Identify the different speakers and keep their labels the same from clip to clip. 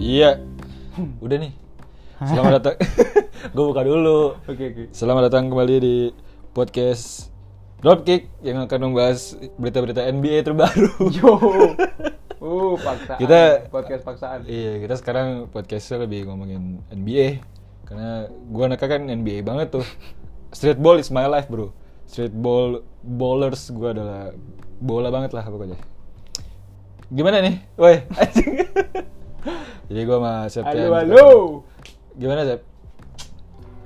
Speaker 1: Iya. Udah nih. Selamat datang. Gue buka dulu.
Speaker 2: Oke oke.
Speaker 1: Selamat datang kembali di podcast Dropkick yang akan membahas berita-berita NBA terbaru.
Speaker 2: Yo. Uh, paksaan.
Speaker 1: Kita-
Speaker 2: podcast paksaan.
Speaker 1: iya, kita sekarang podcastnya lebih ngomongin NBA karena gue anaknya kan NBA banget tuh. Streetball is my life bro. Streetball bowlers gue adalah bola banget lah pokoknya. Gimana nih? Woi, anjing. Jadi gue sama Septian.
Speaker 2: Halo halo.
Speaker 1: Gimana, Sep?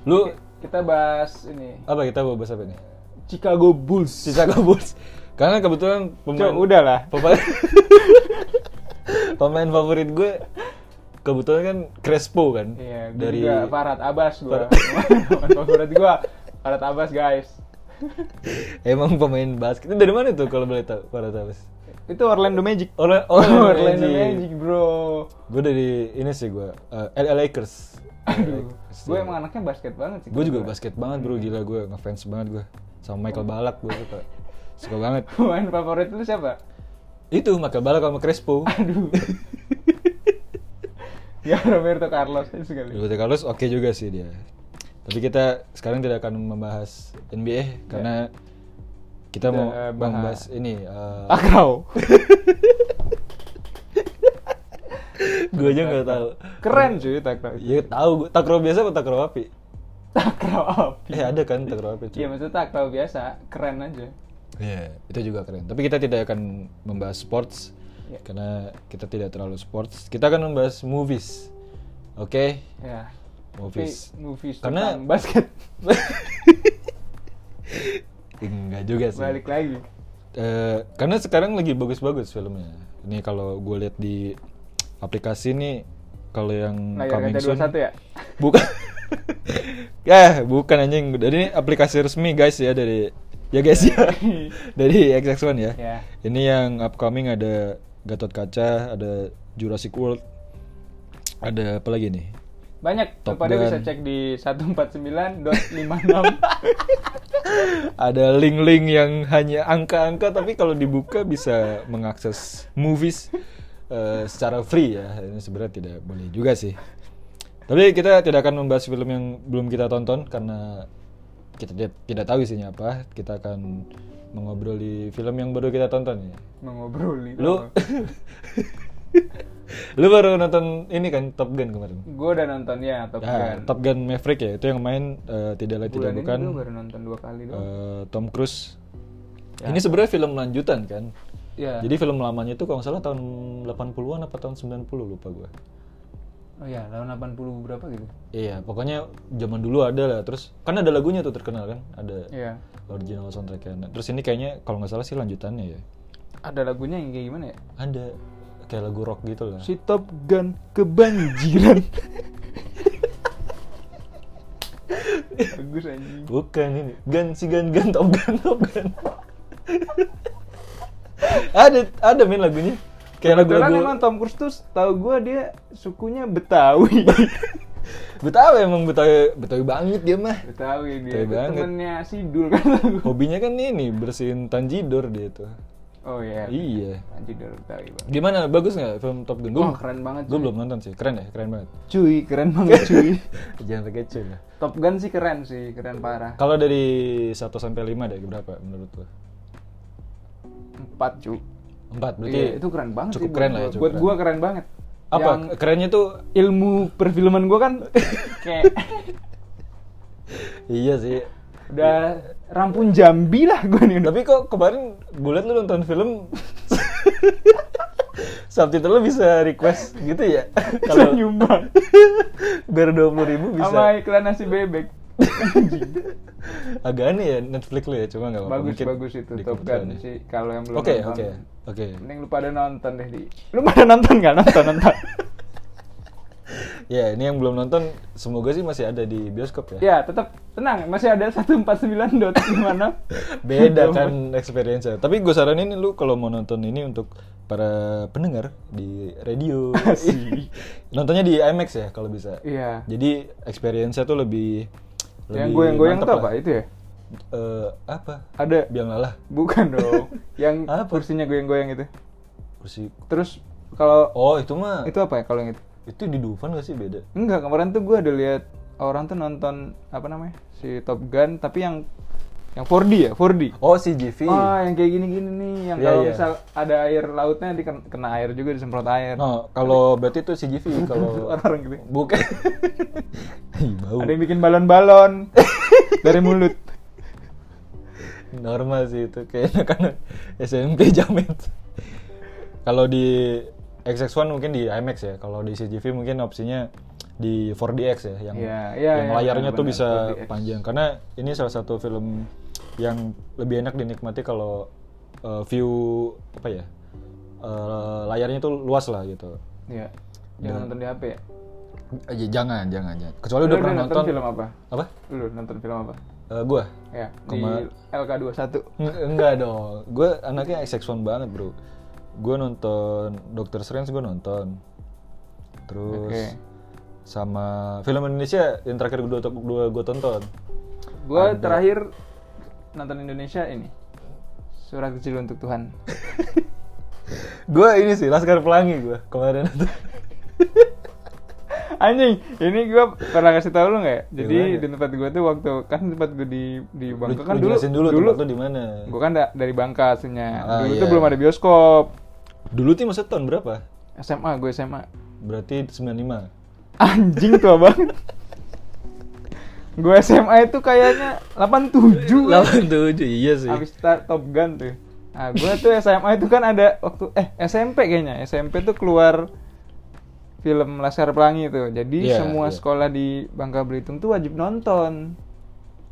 Speaker 1: Lu
Speaker 2: Kita bahas ini
Speaker 1: apa kita mau bahas apa nih?
Speaker 2: Chicago Bulls.
Speaker 1: Chicago Bulls. Karena kebetulan pemain
Speaker 2: Cok, udah lah.
Speaker 1: Pemain, pemain favorit gue kebetulan kan Crespo kan.
Speaker 2: Iya, gua
Speaker 1: dari
Speaker 2: juga Farhat Abbas gua.
Speaker 1: Farhat-
Speaker 2: Teman Favorit gua Farhat Abbas guys.
Speaker 1: emang pemain basket itu dari mana tuh kalau boleh tahu para tabes?
Speaker 2: Itu Orlando Magic.
Speaker 1: Oleh
Speaker 2: Oh, Orlando Magic, bro.
Speaker 1: Gue dari ini sih gue eh, LA Lakers.
Speaker 2: Aduh, gue emang anaknya basket banget sih.
Speaker 1: Gue juga basket banget bro gila gue ngefans banget gue sama
Speaker 2: Oh.
Speaker 1: Michael Balak gue suka suka banget.
Speaker 2: Pemain favorit lu siapa?
Speaker 1: Itu Michael Balak sama Crespo.
Speaker 2: Aduh. ya Roberto Carlos aja sekali.
Speaker 1: Roberto Carlos oke juga sih dia. Tapi kita sekarang tidak akan membahas NBA karena kita
Speaker 2: Kita,
Speaker 1: mau
Speaker 2: eh, Iya. bahas- Ah,
Speaker 1: membahas ini. eh,
Speaker 2: Akrau.
Speaker 1: gue aja nggak tahu.
Speaker 2: Keren cuy takraw itu.
Speaker 1: Ya tahu gue takro biasa apa takro api?
Speaker 2: Takraw api.
Speaker 1: Eh ada kan takro api? cuy?
Speaker 2: Iya maksudnya takraw biasa, keren aja.
Speaker 1: Iya, itu juga keren. Tapi kita tidak akan membahas sports
Speaker 2: Iya.
Speaker 1: karena kita tidak terlalu sports. Kita akan membahas movies. Oke,
Speaker 2: Ya.
Speaker 1: movies.
Speaker 2: Tapi movies
Speaker 1: Karena-
Speaker 2: tentang basket
Speaker 1: Enggak juga Iya sih.
Speaker 2: balik lagi.
Speaker 1: Eh, karena sekarang lagi bagus-bagus filmnya. Ini kalau gue lihat di aplikasi nih kalau yang Hmm,
Speaker 2: Layar
Speaker 1: coming
Speaker 2: kaca
Speaker 1: soon
Speaker 2: 21 ya?
Speaker 1: bukan ya bukan anjing dari ini aplikasi resmi guys ya dari ya guys ya dari XX1 ya.
Speaker 2: Ya.
Speaker 1: Ini yang upcoming ada Gatot Kaca, ada Jurassic World, ada apa lagi nih?
Speaker 2: Banyak,
Speaker 1: Top
Speaker 2: kepada
Speaker 1: Gun.
Speaker 2: bisa cek di 149.56
Speaker 1: Ada link-link yang hanya angka-angka tapi kalau dibuka bisa mengakses movies eh, secara free ya. Ini sebenarnya tidak boleh juga sih. Tapi kita tidak akan membahas film yang belum kita tonton karena kita tidak, tidak tahu isinya apa. Kita akan mengobroli film yang baru kita tonton ya.
Speaker 2: mengobroli.
Speaker 1: Lu Lu baru nonton ini kan Top Gun kemarin?
Speaker 2: gue udah nonton ya Top
Speaker 1: Ya,
Speaker 2: Gun.
Speaker 1: Top Gun Maverick ya, itu yang main eh, tidak lain tidak
Speaker 2: Bulan ini
Speaker 1: bukan
Speaker 2: gue baru nonton dua kali doang.
Speaker 1: eh, Tom Cruise.
Speaker 2: Ya.
Speaker 1: Ini sebenarnya film lanjutan kan.
Speaker 2: Ya.
Speaker 1: Jadi film lamanya itu kalau nggak salah tahun 80-an apa tahun 90 lupa gue.
Speaker 2: Oh ya, tahun 80 berapa gitu?
Speaker 1: Iya, pokoknya zaman dulu ada lah. Terus kan ada lagunya tuh terkenal kan, ada
Speaker 2: Iya.
Speaker 1: original soundtracknya. Nah, Terus ini kayaknya kalau nggak salah sih lanjutannya ya.
Speaker 2: Ada lagunya yang kayak gimana ya?
Speaker 1: Ada kayak lagu rock gitu lah.
Speaker 2: Si Top Gun kebanjiran. Bagus anjing.
Speaker 1: Bukan ini. Gan si Gan Gan Top Gun Top Gun. ada ada main lagunya. Kayak
Speaker 2: Kebetulan
Speaker 1: lagu-lagu
Speaker 2: emang Tom Cruise tuh tahu gue dia sukunya Betawi.
Speaker 1: Betawi emang Betawi Betawi banget dia mah.
Speaker 2: Betawi dia.
Speaker 1: Betawi
Speaker 2: Itu
Speaker 1: banget.
Speaker 2: Temennya Sidul kan.
Speaker 1: Hobinya kan ini bersihin tanjidor dia tuh.
Speaker 2: oh iya.
Speaker 1: Iya.
Speaker 2: Anjir dari Betawi banget.
Speaker 1: Gimana? Bagus nggak film Top Gun?
Speaker 2: Wah, keren banget,
Speaker 1: Gue
Speaker 2: cuy.
Speaker 1: belum nonton sih. Keren ya, keren banget.
Speaker 2: Cuy, keren banget cuy.
Speaker 1: Jangan pakai cuy lah.
Speaker 2: Top Gun sih keren sih, keren parah.
Speaker 1: Kalau dari 1 sampai 5 deh berapa menurut lo?
Speaker 2: Empat cuy.
Speaker 1: 4 berarti.
Speaker 2: Iya, itu keren banget
Speaker 1: cukup
Speaker 2: sih.
Speaker 1: keren
Speaker 2: buat
Speaker 1: lah ya,
Speaker 2: gua.
Speaker 1: cukup
Speaker 2: Buat
Speaker 1: keren.
Speaker 2: gue keren banget.
Speaker 1: Apa?
Speaker 2: Yang
Speaker 1: Kerennya tuh
Speaker 2: ilmu perfilman gue kan kayak
Speaker 1: iya sih.
Speaker 2: udah rampun Jambi lah gue nih.
Speaker 1: Tapi kok kemarin gue liat lu nonton film subtitle lu bisa request gitu ya?
Speaker 2: Kalau
Speaker 1: Kalau
Speaker 2: nyumbang
Speaker 1: biar 20 ribu bisa.
Speaker 2: sama iklan nasi bebek.
Speaker 1: agak aneh ya Netflix lu ya cuma nggak apa-apa
Speaker 2: bagus
Speaker 1: mungkin
Speaker 2: bagus itu
Speaker 1: di
Speaker 2: Top
Speaker 1: kebetulan
Speaker 2: Gun
Speaker 1: ya.
Speaker 2: sih kalau yang belum
Speaker 1: oke
Speaker 2: nonton.
Speaker 1: oke oke
Speaker 2: Mending lu pada nonton deh di. Lu pada nonton nggak nonton nonton?
Speaker 1: ya ini yang belum nonton semoga sih masih ada di bioskop ya
Speaker 2: ya tetap tenang masih ada 149 dot gimana?
Speaker 1: beda kan experience tapi gue saranin lu kalau mau nonton ini untuk para pendengar di radio
Speaker 2: Asik.
Speaker 1: nontonnya di IMAX ya kalau bisa
Speaker 2: Iya.
Speaker 1: jadi experience-nya tuh lebih lebih
Speaker 2: Yang goyang-goyang
Speaker 1: mantep
Speaker 2: tuh
Speaker 1: lah.
Speaker 2: apa itu ya?
Speaker 1: Eh, apa
Speaker 2: Ada
Speaker 1: biang lalah
Speaker 2: bukan dong. yang
Speaker 1: Apa?
Speaker 2: kursinya goyang-goyang itu.
Speaker 1: kursi
Speaker 2: Terus kalau
Speaker 1: oh itu mah
Speaker 2: itu apa ya kalau yang itu?
Speaker 1: Itu di Dufan gak sih beda?
Speaker 2: Enggak, kemarin tuh gue ada lihat orang tuh nonton apa namanya? Si Top Gun tapi yang yang 4D ya, 4D.
Speaker 1: Oh, CGV.
Speaker 2: Oh, yang kayak gini-gini nih, yang
Speaker 1: Iya,
Speaker 2: kalau
Speaker 1: iya.
Speaker 2: misal ada air lautnya diken- kena air juga disemprot air.
Speaker 1: Nah, kalau berarti itu CGV kalau
Speaker 2: Orang-orang gitu.
Speaker 1: bukan. Ih, bau.
Speaker 2: Ada yang bikin balon-balon dari mulut.
Speaker 1: Normal sih itu kayaknya karena SMP jamet. kalau di XX1 mungkin di IMAX ya. Kalau di CGV mungkin opsinya di 4DX ya yang
Speaker 2: Iya, iya,
Speaker 1: yang
Speaker 2: iya,
Speaker 1: layarnya tuh
Speaker 2: benar,
Speaker 1: bisa
Speaker 2: 4DX.
Speaker 1: panjang karena ini salah satu film yang lebih enak dinikmati kalau eh, view apa ya? eh, layarnya tuh luas lah gitu.
Speaker 2: Iya. Jangan nonton di HP ya.
Speaker 1: Eh, j- Jangan, jangan, jangan. Kecuali udah
Speaker 2: Lu
Speaker 1: pernah nonton,
Speaker 2: film apa?
Speaker 1: apa?
Speaker 2: Lu nonton film apa?
Speaker 1: Eh, gua
Speaker 2: Ya,
Speaker 1: Kema-
Speaker 2: di LK21.
Speaker 1: Eng- enggak dong. Gue anaknya XX1 banget, Bro. Gue nonton Doctor Strange gue nonton. Terus
Speaker 2: Oke.
Speaker 1: sama film Indonesia yang terakhir gue dua gue tonton.
Speaker 2: Gua terakhir nonton Indonesia ini. Surat kecil untuk Tuhan.
Speaker 1: Gue ini sih Laskar Pelangi gue kemarin nonton.
Speaker 2: Anjing, ini gua pernah kasih tau lu nggak? ya? Jadi
Speaker 1: Gimana?
Speaker 2: di tempat gua tuh waktu kan tempat gua di di Bangka
Speaker 1: Lu-
Speaker 2: kan
Speaker 1: lu
Speaker 2: dulu
Speaker 1: jelasin dulu,
Speaker 2: dulu
Speaker 1: tempat lu di mana.
Speaker 2: gua kan da- dari Bangka aslinya.
Speaker 1: Ah,
Speaker 2: dulu
Speaker 1: iya.
Speaker 2: tuh belum ada bioskop.
Speaker 1: Dulu tuh masa tahun berapa?
Speaker 2: SMA, gue SMA.
Speaker 1: Berarti 95.
Speaker 2: Anjing tua banget. gue SMA itu kayaknya 87 kan.
Speaker 1: 87 iya sih.
Speaker 2: Abis start Top Gun tuh. Nah, gue tuh SMA itu kan ada waktu eh SMP kayaknya. SMP tuh keluar film Laskar Pelangi tuh. Jadi
Speaker 1: Iya,
Speaker 2: semua
Speaker 1: iya.
Speaker 2: sekolah di Bangka Belitung tuh wajib nonton.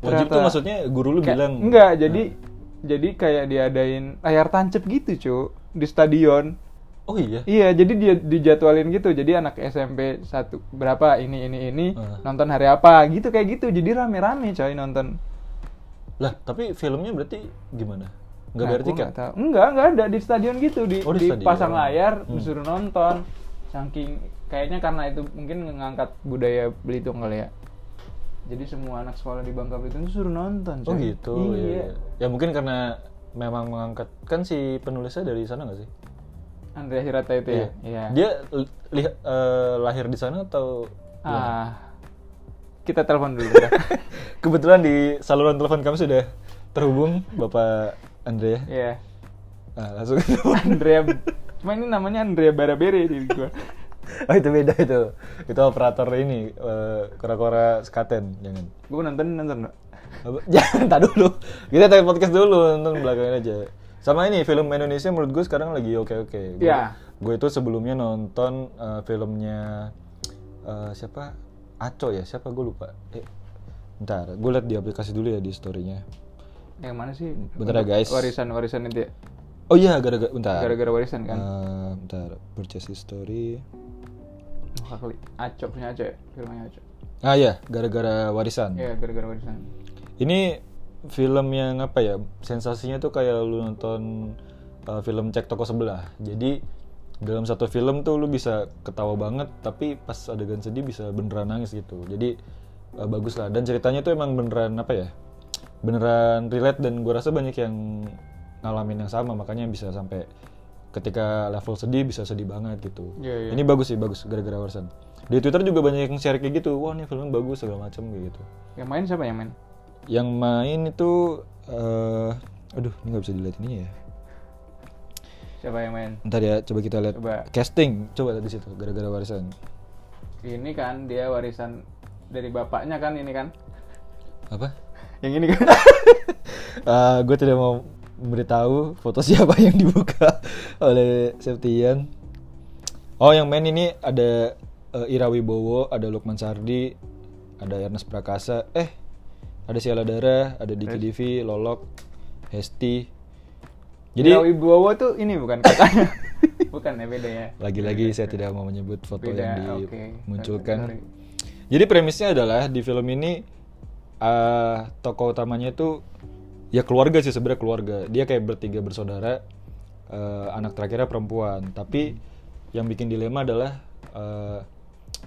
Speaker 1: Wajib tuh
Speaker 2: Ternyata-
Speaker 1: maksudnya guru lu
Speaker 2: Kayak-
Speaker 1: bilang
Speaker 2: Enggak, jadi jadi kayak diadain layar tancep gitu, cu di stadion.
Speaker 1: Oh iya.
Speaker 2: Iya, jadi dia dijadwalin gitu. Jadi anak SMP satu berapa ini ini ini
Speaker 1: Ah.
Speaker 2: nonton hari apa gitu kayak gitu. Jadi rame-rame coy nonton.
Speaker 1: Lah, tapi filmnya berarti gimana? Enggak
Speaker 2: Nah,
Speaker 1: berarti
Speaker 2: gua
Speaker 1: kan?
Speaker 2: nggak tahu. Enggak, enggak ada di stadion gitu di,
Speaker 1: Oh, di
Speaker 2: di
Speaker 1: stadion.
Speaker 2: pasang layar
Speaker 1: Hmm.
Speaker 2: disuruh nonton. Saking kayaknya karena itu mungkin ngangkat budaya Belitung kali ya. Jadi semua anak sekolah di Bangka Belitung disuruh nonton.
Speaker 1: Oh
Speaker 2: coy.
Speaker 1: gitu.
Speaker 2: Iya.
Speaker 1: Ya, ya mungkin karena memang mengangkat kan si penulisnya dari sana nggak sih?
Speaker 2: Andrea Hirata itu ya. Iya.
Speaker 1: Dia li- li- eh, lahir di sana atau
Speaker 2: Ah. Kita telepon dulu. Bro.
Speaker 1: kebetulan di saluran telepon kami sudah terhubung Bapak Andrea.
Speaker 2: Iya.
Speaker 1: Nah, langsung
Speaker 2: Andrea Cuma ini namanya Andrea Barabere di gua.
Speaker 1: Oh itu beda itu. Itu operator ini eh, kora-kora sekaten jangan.
Speaker 2: Gua nonton nonton. Bro.
Speaker 1: Apa? Jangan tak dulu. Kita tag podcast dulu nonton belakangan aja. Sama ini film Indonesia menurut gue sekarang lagi oke oke.
Speaker 2: Iya.
Speaker 1: Gue itu sebelumnya nonton eh, filmnya eh, siapa? Aco ya siapa gue lupa. Eh, ntar gue liat di aplikasi dulu ya di storynya.
Speaker 2: Yang mana sih?
Speaker 1: Bentar ya, guys.
Speaker 2: Warisan-warisan itu ya.
Speaker 1: Oh iya gara-gara bentar.
Speaker 2: Gara-gara warisan kan.
Speaker 1: Eh, bentar purchase history.
Speaker 2: Muka kali. Acok punya Acok ya. Firmanya Acok.
Speaker 1: Ah ya gara-gara warisan.
Speaker 2: Iya, gara-gara warisan.
Speaker 1: Ini film yang apa ya? Sensasinya tuh kayak lu nonton uh, film cek toko sebelah. Jadi dalam satu film tuh lu bisa ketawa banget, tapi pas adegan sedih bisa beneran nangis gitu. Jadi uh, bagus lah. Dan ceritanya tuh emang beneran apa ya? Beneran relate dan gua rasa banyak yang ngalamin yang sama, makanya bisa sampai ketika level sedih bisa sedih banget gitu.
Speaker 2: Iya, iya.
Speaker 1: Ini bagus sih, bagus gara-gara warisan. Di Twitter juga banyak yang share kayak gitu. Wah, ini filmnya bagus segala macam kayak gitu
Speaker 2: Yang main siapa yang main?
Speaker 1: yang main itu eh aduh ini nggak bisa dilihat ini ya
Speaker 2: Siapa yang main?
Speaker 1: ntar ya coba kita lihat
Speaker 2: Coba.
Speaker 1: casting coba lihat di situ gara-gara warisan
Speaker 2: Ini kan dia warisan dari bapaknya kan ini kan.
Speaker 1: apa
Speaker 2: Yang ini kan.
Speaker 1: Eh gue tidak mau memberitahu foto siapa yang dibuka oleh Septian oh yang main ini ada eh, Ira Wibowo ada Lukman Sardi ada Ernest Prakasa eh ada Siala Dara ada Diki Divi Lolok Hesti
Speaker 2: Jadi
Speaker 1: jadi
Speaker 2: Wibowo tuh ini bukan kakaknya. bukan ya beda ya.
Speaker 1: Lagi-lagi saya tidak mau menyebut foto
Speaker 2: Beda,
Speaker 1: yang
Speaker 2: oke.
Speaker 1: dimunculkan.
Speaker 2: Sorry.
Speaker 1: Jadi premisnya adalah di film ini eh tokoh utamanya itu ya keluarga sih sebenarnya keluarga. Dia kayak bertiga bersaudara, eh, anak terakhirnya perempuan. Tapi yang bikin dilema adalah eh,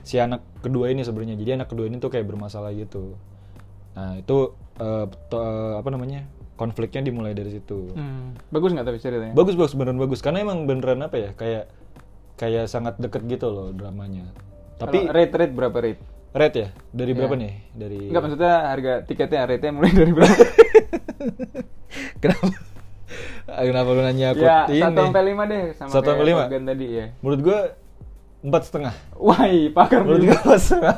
Speaker 1: si anak kedua ini sebenarnya. Jadi anak kedua ini tuh kayak bermasalah gitu. Nah itu eh, to- eh, apa namanya konfliknya dimulai dari situ.
Speaker 2: Hmm. Bagus nggak tapi ceritanya?
Speaker 1: Bagus bagus beneran bagus karena emang beneran apa ya kayak kayak sangat deket gitu loh dramanya. Tapi
Speaker 2: Kalau rate rate berapa rate?
Speaker 1: rate ya? Dari berapa
Speaker 2: Iya.
Speaker 1: nih? Dari
Speaker 2: Enggak maksudnya harga tiketnya rate-nya mulai dari berapa?
Speaker 1: Kenapa? Kenapa lu nanya aku
Speaker 2: ya,
Speaker 1: ini?
Speaker 2: 1 sampai 5 deh sama
Speaker 1: Satu sampai lima?
Speaker 2: Top Gun tadi ya.
Speaker 1: Menurut gua empat setengah.
Speaker 2: Wah, pakar
Speaker 1: Menurut
Speaker 2: biru.
Speaker 1: gua empat setengah.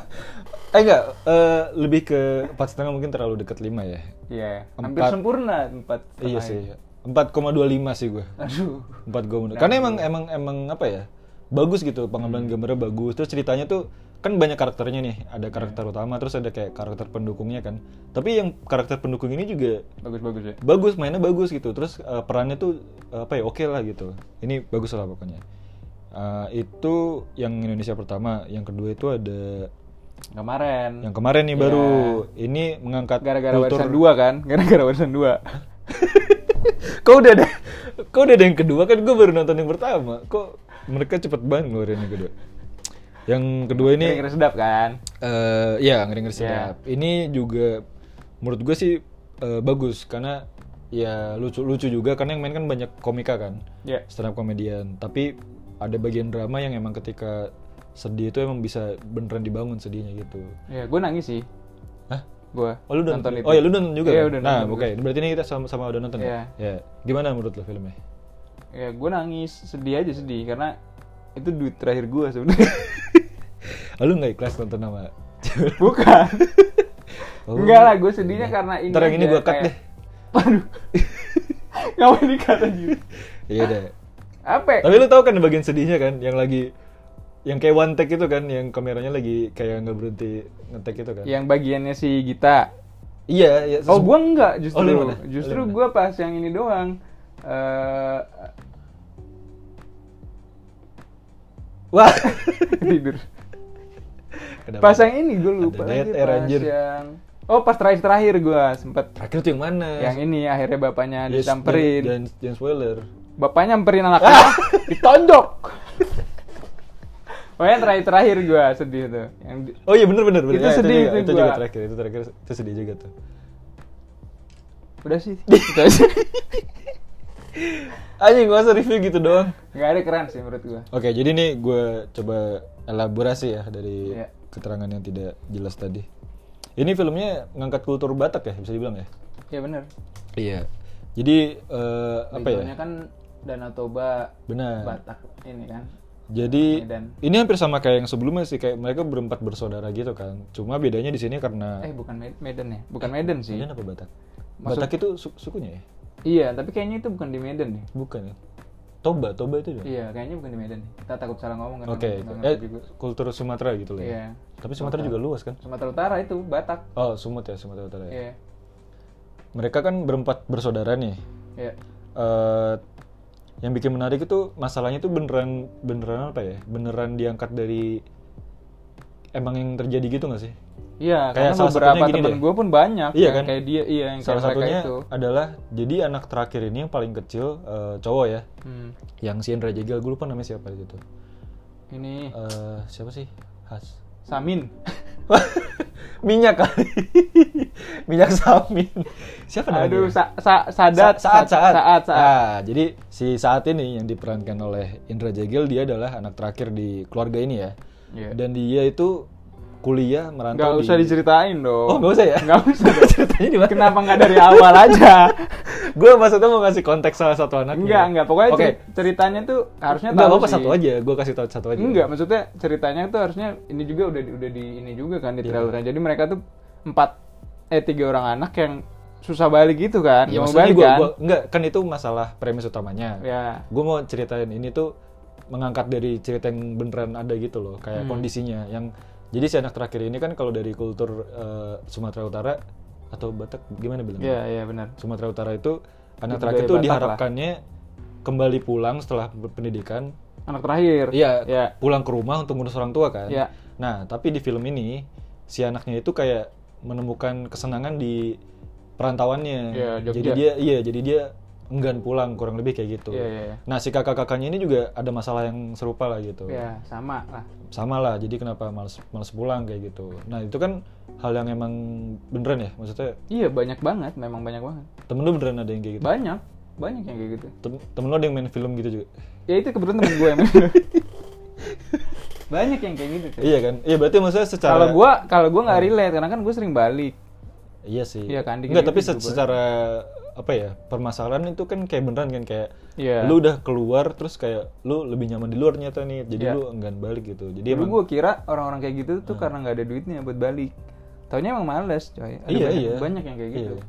Speaker 1: Eh enggak, eh, lebih ke empat setengah mungkin terlalu dekat lima ya.
Speaker 2: Iya, hampir
Speaker 1: Empat.
Speaker 2: sempurna 4.
Speaker 1: Iya sih. 4,25 sih gua.
Speaker 2: Aduh.
Speaker 1: empat gue menurut karena emang emang emang apa ya bagus gitu pengambilan gambarnya bagus terus ceritanya tuh kan banyak karakternya nih ada karakter utama terus ada kayak karakter pendukungnya kan tapi yang karakter pendukung ini juga
Speaker 2: Bagus-bagus ya.
Speaker 1: bagus mainnya bagus gitu terus eh, perannya tuh eh, apa ya oke lah gitu ini bagus lah pokoknya Eh, itu yang Indonesia pertama yang kedua itu ada
Speaker 2: Hmm. Kemarin.
Speaker 1: yang kemarin nih baru ini mengangkat
Speaker 2: Gara-gara
Speaker 1: kultur
Speaker 2: warisan 2 kan? Gara-gara warisan 2.
Speaker 1: kau udah ada kau udah ada yang kedua kan gue baru nonton yang pertama kok mereka cepet banget ngeluarin yang kedua yang kedua Oh, ini
Speaker 2: Ini kira sedap kan?
Speaker 1: eh ya ngeri ngeri sedap ini juga menurut gue sih eh, bagus karena ya lucu lucu juga karena yang main kan banyak komika kan
Speaker 2: Ya.
Speaker 1: stand up komedian tapi ada bagian drama yang emang ketika sedih itu emang bisa beneran dibangun sedihnya gitu
Speaker 2: Ya, gue nangis sih.
Speaker 1: Hah?
Speaker 2: Gue
Speaker 1: Oh lu udah
Speaker 2: nonton itu.
Speaker 1: Oh ya lu udah nonton juga.
Speaker 2: Iya,
Speaker 1: kan?
Speaker 2: udah
Speaker 1: nah,
Speaker 2: nonton
Speaker 1: oke. Berarti ini kita sama-sama udah nonton ya.
Speaker 2: Iya.
Speaker 1: Ya. Gimana menurut lo filmnya?
Speaker 2: Ya, gue nangis sedih aja sedih karena itu duit terakhir gue sebenarnya.
Speaker 1: Ah, lu nggak ikhlas nonton sama
Speaker 2: Bukan.
Speaker 1: Oh.
Speaker 2: Enggak lah, gue sedihnya karena ini.
Speaker 1: Ntar yang ini
Speaker 2: aja,
Speaker 1: gua cut
Speaker 2: kayak-
Speaker 1: deh.
Speaker 2: Waduh. Ngapain di cut anjir?
Speaker 1: Iya deh.
Speaker 2: Apa? ya?
Speaker 1: Tapi lu tahu kan bagian sedihnya kan yang lagi yang kayak one take itu kan yang kameranya lagi kayak nggak berhenti ngetek itu kan.
Speaker 2: Yang bagiannya si Gita.
Speaker 1: Iya, iya.
Speaker 2: Oh,
Speaker 1: sesu-
Speaker 2: gua enggak justru.
Speaker 1: Oh, lu yang mana?
Speaker 2: justru
Speaker 1: Lu yang
Speaker 2: gua pas yang ini doang. eh
Speaker 1: Wah.
Speaker 2: tidur.
Speaker 1: Kenapa?
Speaker 2: Pas yang ini gua lupa
Speaker 1: Ada
Speaker 2: lagi
Speaker 1: diet air,
Speaker 2: pas
Speaker 1: anjir.
Speaker 2: yang Oh, pas terakhir-terakhir gua sempet
Speaker 1: Terakhir tuh yang mana?
Speaker 2: yang ini akhirnya bapaknya
Speaker 1: Yes,
Speaker 2: disamperin.
Speaker 1: Jangan, jangan spoiler.
Speaker 2: Bapaknya nyamperin anaknya ditonjok. Pokoknya terakhir-terakhir gua sedih tuh. Yang di-
Speaker 1: Oh iya bener bener bener.
Speaker 2: Itu
Speaker 1: Ya,
Speaker 2: sedih,
Speaker 1: juga,
Speaker 2: itu
Speaker 1: itu juga
Speaker 2: gua.
Speaker 1: terakhir itu terakhir itu sedih juga tuh.
Speaker 2: udah sih. Itu aja.
Speaker 1: Anjing gua usah review gitu doang.
Speaker 2: Enggak ada keren sih menurut gua.
Speaker 1: Oke, jadi nih gue coba elaborasi ya dari
Speaker 2: Iya.
Speaker 1: keterangan yang tidak jelas tadi. Ini filmnya ngangkat kultur Batak ya, bisa dibilang ya?
Speaker 2: Ya bener
Speaker 1: Iya. Jadi eh, apa ya? Nah.
Speaker 2: Backgroundnya kan Danau Toba
Speaker 1: Benar.
Speaker 2: Batak ini kan.
Speaker 1: Jadi
Speaker 2: Medan.
Speaker 1: ini hampir sama kayak yang sebelumnya sih, kayak mereka berempat bersaudara gitu kan. Cuma bedanya di sini karena
Speaker 2: Eh bukan Med- Medan ya? Bukan Medan sih.
Speaker 1: Nah. Medan apa Batak? Batak itu su- sukunya ya?
Speaker 2: Iya, tapi kayaknya itu bukan di Medan ya.
Speaker 1: Bukan ya? Toba, Toba itu dong.
Speaker 2: Iya, kayaknya bukan di Medan. Kita takut salah ngomong kan.
Speaker 1: Oke,
Speaker 2: nggak
Speaker 1: eh,
Speaker 2: ngerti juga.
Speaker 1: kultur Sumatera gitu loh.
Speaker 2: Iya.
Speaker 1: ya. Tapi Sumatera juga luas kan?
Speaker 2: Sumatera Utara itu Batak.
Speaker 1: Oh, Sumut ya, Sumatera Utara. ya.
Speaker 2: Iya.
Speaker 1: Mereka kan berempat bersaudara nih.
Speaker 2: Iya.
Speaker 1: eh yang bikin menarik itu masalahnya itu beneran beneran apa ya beneran diangkat dari emang yang terjadi gitu nggak sih
Speaker 2: Iya,
Speaker 1: Kayak
Speaker 2: karena
Speaker 1: salah
Speaker 2: beberapa
Speaker 1: satunya gini
Speaker 2: temen
Speaker 1: deh.
Speaker 2: gue pun banyak
Speaker 1: Iya
Speaker 2: yang
Speaker 1: kan?
Speaker 2: kayak dia, iya yang
Speaker 1: salah
Speaker 2: kayak mereka
Speaker 1: satunya
Speaker 2: itu.
Speaker 1: adalah jadi anak terakhir ini yang paling kecil eh, cowok ya
Speaker 2: Hmm.
Speaker 1: yang si Indra Jegel gue lupa namanya siapa gitu
Speaker 2: Ini
Speaker 1: Eh, siapa sih Has
Speaker 2: Samin.
Speaker 1: minyak kali minyak samin siapa namanya
Speaker 2: Aduh, sa, sa, Sadat.
Speaker 1: Sa- saat
Speaker 2: Sa-
Speaker 1: saat
Speaker 2: Saat, Saat.
Speaker 1: Ah, jadi si saat ini yang diperankan oleh Indra Jegel dia adalah anak terakhir di keluarga ini ya
Speaker 2: Iya.
Speaker 1: dan dia itu kuliah
Speaker 2: Nggak
Speaker 1: merantau
Speaker 2: usah
Speaker 1: di
Speaker 2: diceritain dong.
Speaker 1: oh nggak usah ya
Speaker 2: Nggak usah.
Speaker 1: ceritanya di mana
Speaker 2: Kenapa nggak dari awal aja?
Speaker 1: gue maksudnya mau ngasih konteks salah satu anaknya
Speaker 2: Enggak, enggak. Pokoknya
Speaker 1: oke
Speaker 2: cer- ceritanya tuh harusnya
Speaker 1: nggak
Speaker 2: tahu
Speaker 1: apa
Speaker 2: sih.
Speaker 1: satu aja gue kasih tau satu aja
Speaker 2: Enggak, maksudnya ceritanya tuh harusnya ini juga udah di, udah di ini juga kan di
Speaker 1: Iya.
Speaker 2: trailernya. Jadi mereka tuh empat eh tiga orang anak yang susah balik gitu kan,
Speaker 1: ya,
Speaker 2: nggak mau
Speaker 1: maksudnya
Speaker 2: balik
Speaker 1: gue
Speaker 2: kan.
Speaker 1: enggak kan itu masalah premis utamanya
Speaker 2: Ya,
Speaker 1: gue mau ceritain ini tuh mengangkat dari cerita yang beneran ada gitu loh kayak
Speaker 2: Hmm.
Speaker 1: kondisinya yang jadi si anak terakhir ini kan kalau dari kultur eh, Sumatera Utara atau Batak gimana bilang
Speaker 2: ya, ya benar.
Speaker 1: Sumatera Utara itu anak
Speaker 2: Budaya
Speaker 1: terakhir itu
Speaker 2: Batak lah.
Speaker 1: diharapkannya kembali pulang setelah pendidikan
Speaker 2: Anak terakhir.
Speaker 1: iya
Speaker 2: Ya.
Speaker 1: pulang ke rumah untuk ngurus orang tua kan
Speaker 2: Iya.
Speaker 1: nah tapi di film ini si anaknya itu kayak menemukan kesenangan di perantauannya
Speaker 2: Iya, Jogja.
Speaker 1: jadi dia iya jadi dia enggan pulang kurang lebih kayak gitu
Speaker 2: Iya, iya, iya.
Speaker 1: Nah, si kakak-kakaknya ini juga ada masalah yang serupa lah gitu.
Speaker 2: Ya, sama lah.
Speaker 1: Sama lah, jadi kenapa males, males pulang kayak gitu. Nah, itu kan hal yang emang beneran ya? Maksudnya
Speaker 2: Iya, banyak banget, memang banyak banget.
Speaker 1: temen lu beneran ada yang kayak gitu?
Speaker 2: Banyak, banyak yang kayak gitu.
Speaker 1: Tem- temen lu ada yang main film gitu juga?
Speaker 2: Ya itu kebetulan temen gue yang Banyak yang kayak gitu. Cok.
Speaker 1: Iya kan? Iya berarti maksudnya secara
Speaker 2: Kalau gua kalau gua nggak relate karena kan gua sering balik.
Speaker 1: Iya sih.
Speaker 2: Iya kan,
Speaker 1: Enggak, tapi
Speaker 2: dikit-dikit
Speaker 1: se- secara apa ya? Permasalahan itu kan kayak beneran kan kayak
Speaker 2: Iya.
Speaker 1: lu udah keluar terus kayak lu lebih nyaman di luar nyata nih. Jadi
Speaker 2: Iya.
Speaker 1: lu enggan balik gitu. Jadi
Speaker 2: Dulu
Speaker 1: emang
Speaker 2: gua kira orang-orang kayak gitu tuh karena nggak ada duitnya buat balik. Taunya emang males, coy. Ada
Speaker 1: Iya,
Speaker 2: banyak,
Speaker 1: iya.
Speaker 2: banyak yang kayak gitu.
Speaker 1: Iya.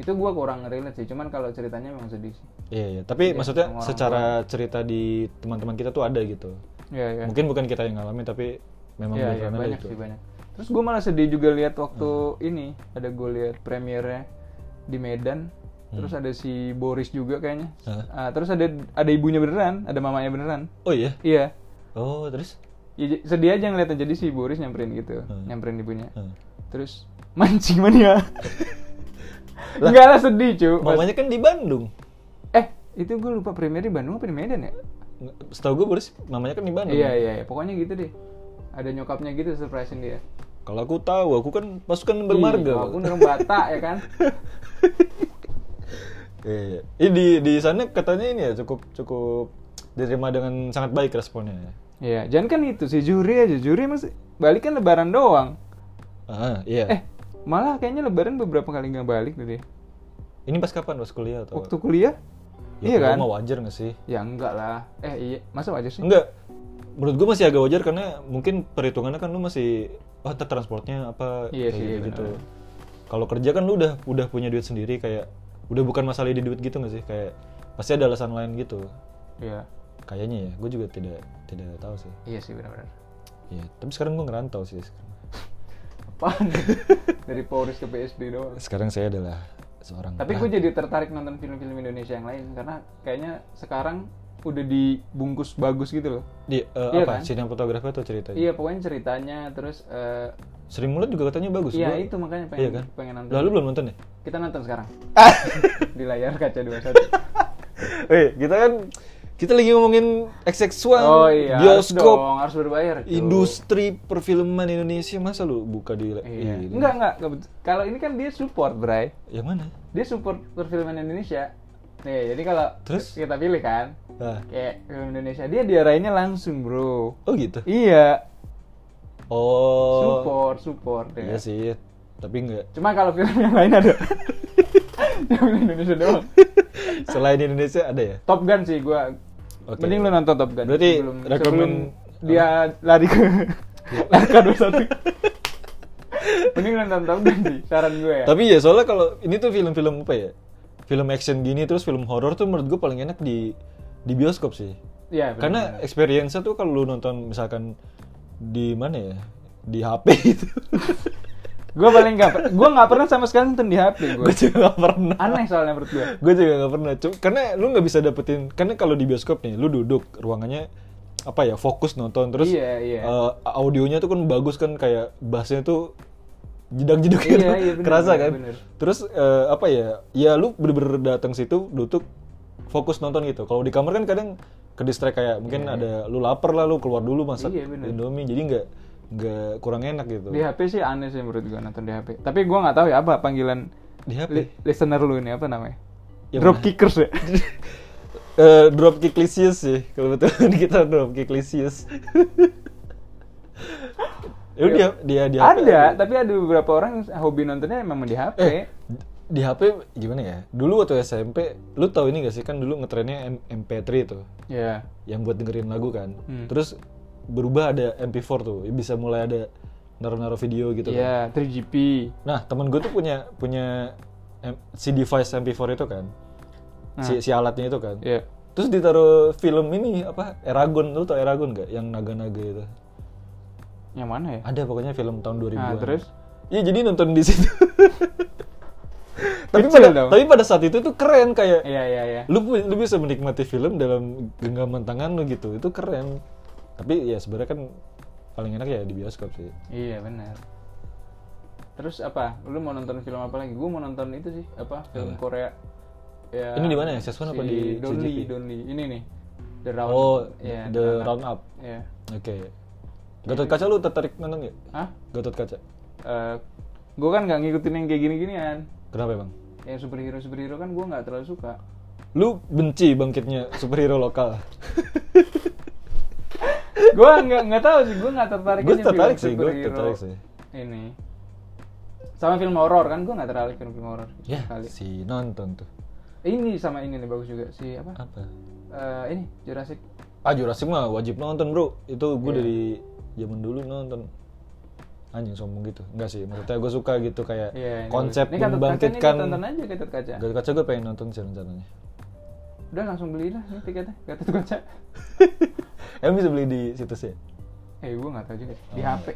Speaker 2: Itu gua kurang relate sih, cuman kalau ceritanya emang sedih sih.
Speaker 1: Iya, iya. Tapi
Speaker 2: Iya,
Speaker 1: maksudnya
Speaker 2: sama orang
Speaker 1: secara cerita di teman-teman kita tuh ada gitu.
Speaker 2: Iya, iya.
Speaker 1: Mungkin bukan kita yang ngalamin tapi memang
Speaker 2: Iya, iya,
Speaker 1: beneran ada
Speaker 2: banyak
Speaker 1: itu.
Speaker 2: sih banyak. Hmm. Terus gue malah sedih juga lihat waktu ini ada gue lihat premiernya di Medan. Terus ada si Boris juga kayaknya.
Speaker 1: Hah?
Speaker 2: Ah, terus ada ada ibunya beneran, ada mamanya beneran.
Speaker 1: Oh iya.
Speaker 2: Iya.
Speaker 1: Oh, terus?
Speaker 2: Ya, j- sedih aja ngeliatnya. Jadi si Boris nyamperin gitu,
Speaker 1: Hmm.
Speaker 2: nyamperin ibunya.
Speaker 1: Heeh.
Speaker 2: Terus mancing mania. Enggak lah sedih cuy.
Speaker 1: Mamanya kan di Bandung.
Speaker 2: Eh itu gue lupa premier di Bandung apa di Medan ya?
Speaker 1: Setahu gue Boris mamanya kan di Bandung.
Speaker 2: Iya iya, iya. pokoknya gitu deh. Ada nyokapnya gitu surprisein dia.
Speaker 1: Kalau aku tahu, aku kan pasukan
Speaker 2: Iya,
Speaker 1: bermarga.
Speaker 2: Ih, Walaupun orang Batak ya kan.
Speaker 1: Iya, iya. Ini di di sana katanya ini ya cukup cukup diterima dengan sangat baik responnya. ya.
Speaker 2: Iya, jangan kan itu si juri aja juri masih balik kan lebaran doang.
Speaker 1: Ah, iya.
Speaker 2: Eh, malah kayaknya lebaran beberapa kali nggak balik deh. dia.
Speaker 1: ini pas kapan pas kuliah atau?
Speaker 2: Waktu kuliah?
Speaker 1: Ya,
Speaker 2: iya
Speaker 1: kalau
Speaker 2: kan?
Speaker 1: Mau wajar nggak sih?
Speaker 2: Ya enggak lah. Eh iya, masa aja sih?
Speaker 1: Enggak. Menurut gue masih agak wajar karena mungkin perhitungannya kan lu masih oh ntar transportnya apa
Speaker 2: Iya sih, iya
Speaker 1: kayak gitu. Kalau kerja kan lu udah udah punya duit sendiri kayak udah bukan masalah di duit gitu nggak sih kayak pasti ada alasan lain gitu
Speaker 2: Iya.
Speaker 1: kayaknya ya gue juga tidak tidak tahu sih
Speaker 2: Iya sih benar-benar.
Speaker 1: Iya, tapi sekarang gue ngerantau sih sekarang.
Speaker 2: Apaan? Dari Polres ke PSD doang.
Speaker 1: Sekarang saya adalah seorang
Speaker 2: Tapi gue jadi tertarik nonton film-film Indonesia yang lain karena kayaknya sekarang udah dibungkus bagus gitu loh.
Speaker 1: Di, eh,
Speaker 2: Iya
Speaker 1: apa?
Speaker 2: kan?
Speaker 1: Sidang fotografi atau ceritanya?
Speaker 2: Iya, pokoknya ceritanya terus eh,
Speaker 1: Sering mulut juga katanya bagus.
Speaker 2: iya
Speaker 1: gua-
Speaker 2: itu makanya pengen
Speaker 1: Iya kan?
Speaker 2: pengen nonton.
Speaker 1: Lalu belum nonton ya?
Speaker 2: Kita nonton sekarang. Di layar kaca 21.
Speaker 1: Eh, kita kan kita lagi ngomongin XX1,
Speaker 2: Oh iya, harus
Speaker 1: bioskop,
Speaker 2: dong, harus berbayar. cuy.
Speaker 1: industri perfilman Indonesia. Masa lu buka di
Speaker 2: Iya.
Speaker 1: ini?
Speaker 2: Enggak, enggak. enggak bet- Kalau ini kan dia support, Bray.
Speaker 1: Yang mana?
Speaker 2: Dia support perfilman Indonesia. Nih, jadi kalau
Speaker 1: Terus?
Speaker 2: kita pilih kan,
Speaker 1: Ah.
Speaker 2: kayak film Indonesia, dia diarahinnya langsung, bro.
Speaker 1: Oh gitu.
Speaker 2: Iya,
Speaker 1: Oh.
Speaker 2: support, support.
Speaker 1: Iya
Speaker 2: Ya.
Speaker 1: sih. Tapi enggak.
Speaker 2: Cuma kalau film yang lain ada. Film Indonesia doang.
Speaker 1: Selain Indonesia ada ya?
Speaker 2: Top Gun sih gua.
Speaker 1: Oke.
Speaker 2: Mending lu nonton Top Gun.
Speaker 1: Berarti
Speaker 2: sebelum,
Speaker 1: rekomen- Iya.
Speaker 2: sebelum dia lari ke Larka 21. Mending lu nonton Top Gun sih, saran gue ya.
Speaker 1: Tapi ya soalnya kalau ini tuh film-film apa ya? Film action gini terus film horor tuh menurut gue paling enak di di bioskop sih.
Speaker 2: Iya, bener.
Speaker 1: Karena experience-nya tuh kalau lu nonton misalkan di mana ya? Di HP itu.
Speaker 2: gue paling gak per- gue nggak pernah sama sekali nonton di HP gue
Speaker 1: gue juga gak pernah.
Speaker 2: aneh soalnya menurut gue
Speaker 1: Gue juga gak pernah. Cuma, karena lu nggak bisa dapetin karena kalau di bioskop nih lu duduk ruangannya apa ya fokus nonton terus
Speaker 2: Iya, iya.
Speaker 1: eh, audionya tuh kan bagus kan kayak bassnya tuh jedak-jeduk
Speaker 2: Iya,
Speaker 1: gitu,
Speaker 2: iya, bener,
Speaker 1: kerasa
Speaker 2: bener,
Speaker 1: kan
Speaker 2: bener.
Speaker 1: terus eh, apa ya ya lu bener-bener datang situ duduk fokus nonton gitu kalau di kamar kan kadang ke distract kayak mungkin ada lu lapar lah lu keluar dulu masak
Speaker 2: Iya, bener.
Speaker 1: indomie jadi nggak nggak kurang enak gitu
Speaker 2: di HP sih aneh sih menurut gue nonton di HP tapi gue nggak tahu ya apa panggilan
Speaker 1: di HP
Speaker 2: li- listener lu ini apa namanya
Speaker 1: Yang
Speaker 2: drop kickers ya
Speaker 1: Eh, dropkick Lysias sih kalau betul kita dropkick Lysias ya dia dia di HP
Speaker 2: ada tapi ada beberapa orang yang hobi nontonnya memang di HP
Speaker 1: Eh. di HP gimana ya dulu waktu SMP lu tahu ini gak sih kan dulu ngetrennya M- MP3 tuh
Speaker 2: ya
Speaker 1: yang buat dengerin lagu kan
Speaker 2: Hmm.
Speaker 1: terus berubah ada MP4 tuh bisa mulai ada naruh-naruh video gitu kan.
Speaker 2: ya 3GP
Speaker 1: nah temen gue tuh punya punya M- si device MP4 itu kan
Speaker 2: Nah.
Speaker 1: si, si alatnya itu kan
Speaker 2: ya
Speaker 1: Terus ditaruh film ini apa? Eragon lu tau Eragon gak? Yang naga-naga itu.
Speaker 2: yang mana ya
Speaker 1: Ada pokoknya film tahun 2000-an.
Speaker 2: nah terus
Speaker 1: Iya, jadi nonton di situ. tapi
Speaker 2: Kecil
Speaker 1: pada
Speaker 2: dong.
Speaker 1: tapi pada saat itu tuh keren kayak
Speaker 2: iya iya iya
Speaker 1: lu pu- lu bisa menikmati film dalam genggaman tangan lu gitu. Itu keren. Tapi ya sebenarnya kan paling enak ya di bioskop sih.
Speaker 2: iya benar terus apa lu mau nonton film apa lagi gue mau nonton itu sih apa film Korea ya
Speaker 1: Ini di mana ya? Seswan apa
Speaker 2: si
Speaker 1: di
Speaker 2: Donly,
Speaker 1: CGV?
Speaker 2: Donly. Ini nih. The Round.
Speaker 1: oh,
Speaker 2: ya,
Speaker 1: the round up.
Speaker 2: Ya.
Speaker 1: Oke. Gatot Kaca lu tertarik nonton nggak?
Speaker 2: Hah?
Speaker 1: Gatot Kaca.
Speaker 2: gue Eh, kan nggak ngikutin yang kayak gini-ginian.
Speaker 1: Kenapa emang?
Speaker 2: Yang superhero-superhero kan gue nggak terlalu suka.
Speaker 1: Lu benci bangkitnya superhero lokal.
Speaker 2: gue nggak nggak tahu sih gue nggak tertarik
Speaker 1: Gue
Speaker 2: aja
Speaker 1: tertarik
Speaker 2: film
Speaker 1: sih, gue
Speaker 2: superhero
Speaker 1: tertarik sih.
Speaker 2: ini sama film horor kan gue nggak tertarik film film horor
Speaker 1: Ya,
Speaker 2: sekali
Speaker 1: si nonton tuh.
Speaker 2: ini sama ini nih bagus juga si apa
Speaker 1: Apa?
Speaker 2: Eh, ini Jurassic
Speaker 1: Ah, Jurassic mah wajib nonton, Bro. Itu gue
Speaker 2: Iya.
Speaker 1: dari zaman dulu nonton. Anjing sombong gitu. Enggak sih, maksudnya gue suka gitu kayak
Speaker 2: Iya, ini
Speaker 1: konsep
Speaker 2: bagus. Ini kentut kaca nih,
Speaker 1: membangkitkan.
Speaker 2: kita tonton aja Gatot Kaca
Speaker 1: Gatot kaca gue pengen nonton sih rencananya.
Speaker 2: udah langsung beli lah ini tiketnya Gatot Kaca
Speaker 1: Emang bisa beli di situs ya?
Speaker 2: eh gue nggak tahu juga di
Speaker 1: Oh.
Speaker 2: HP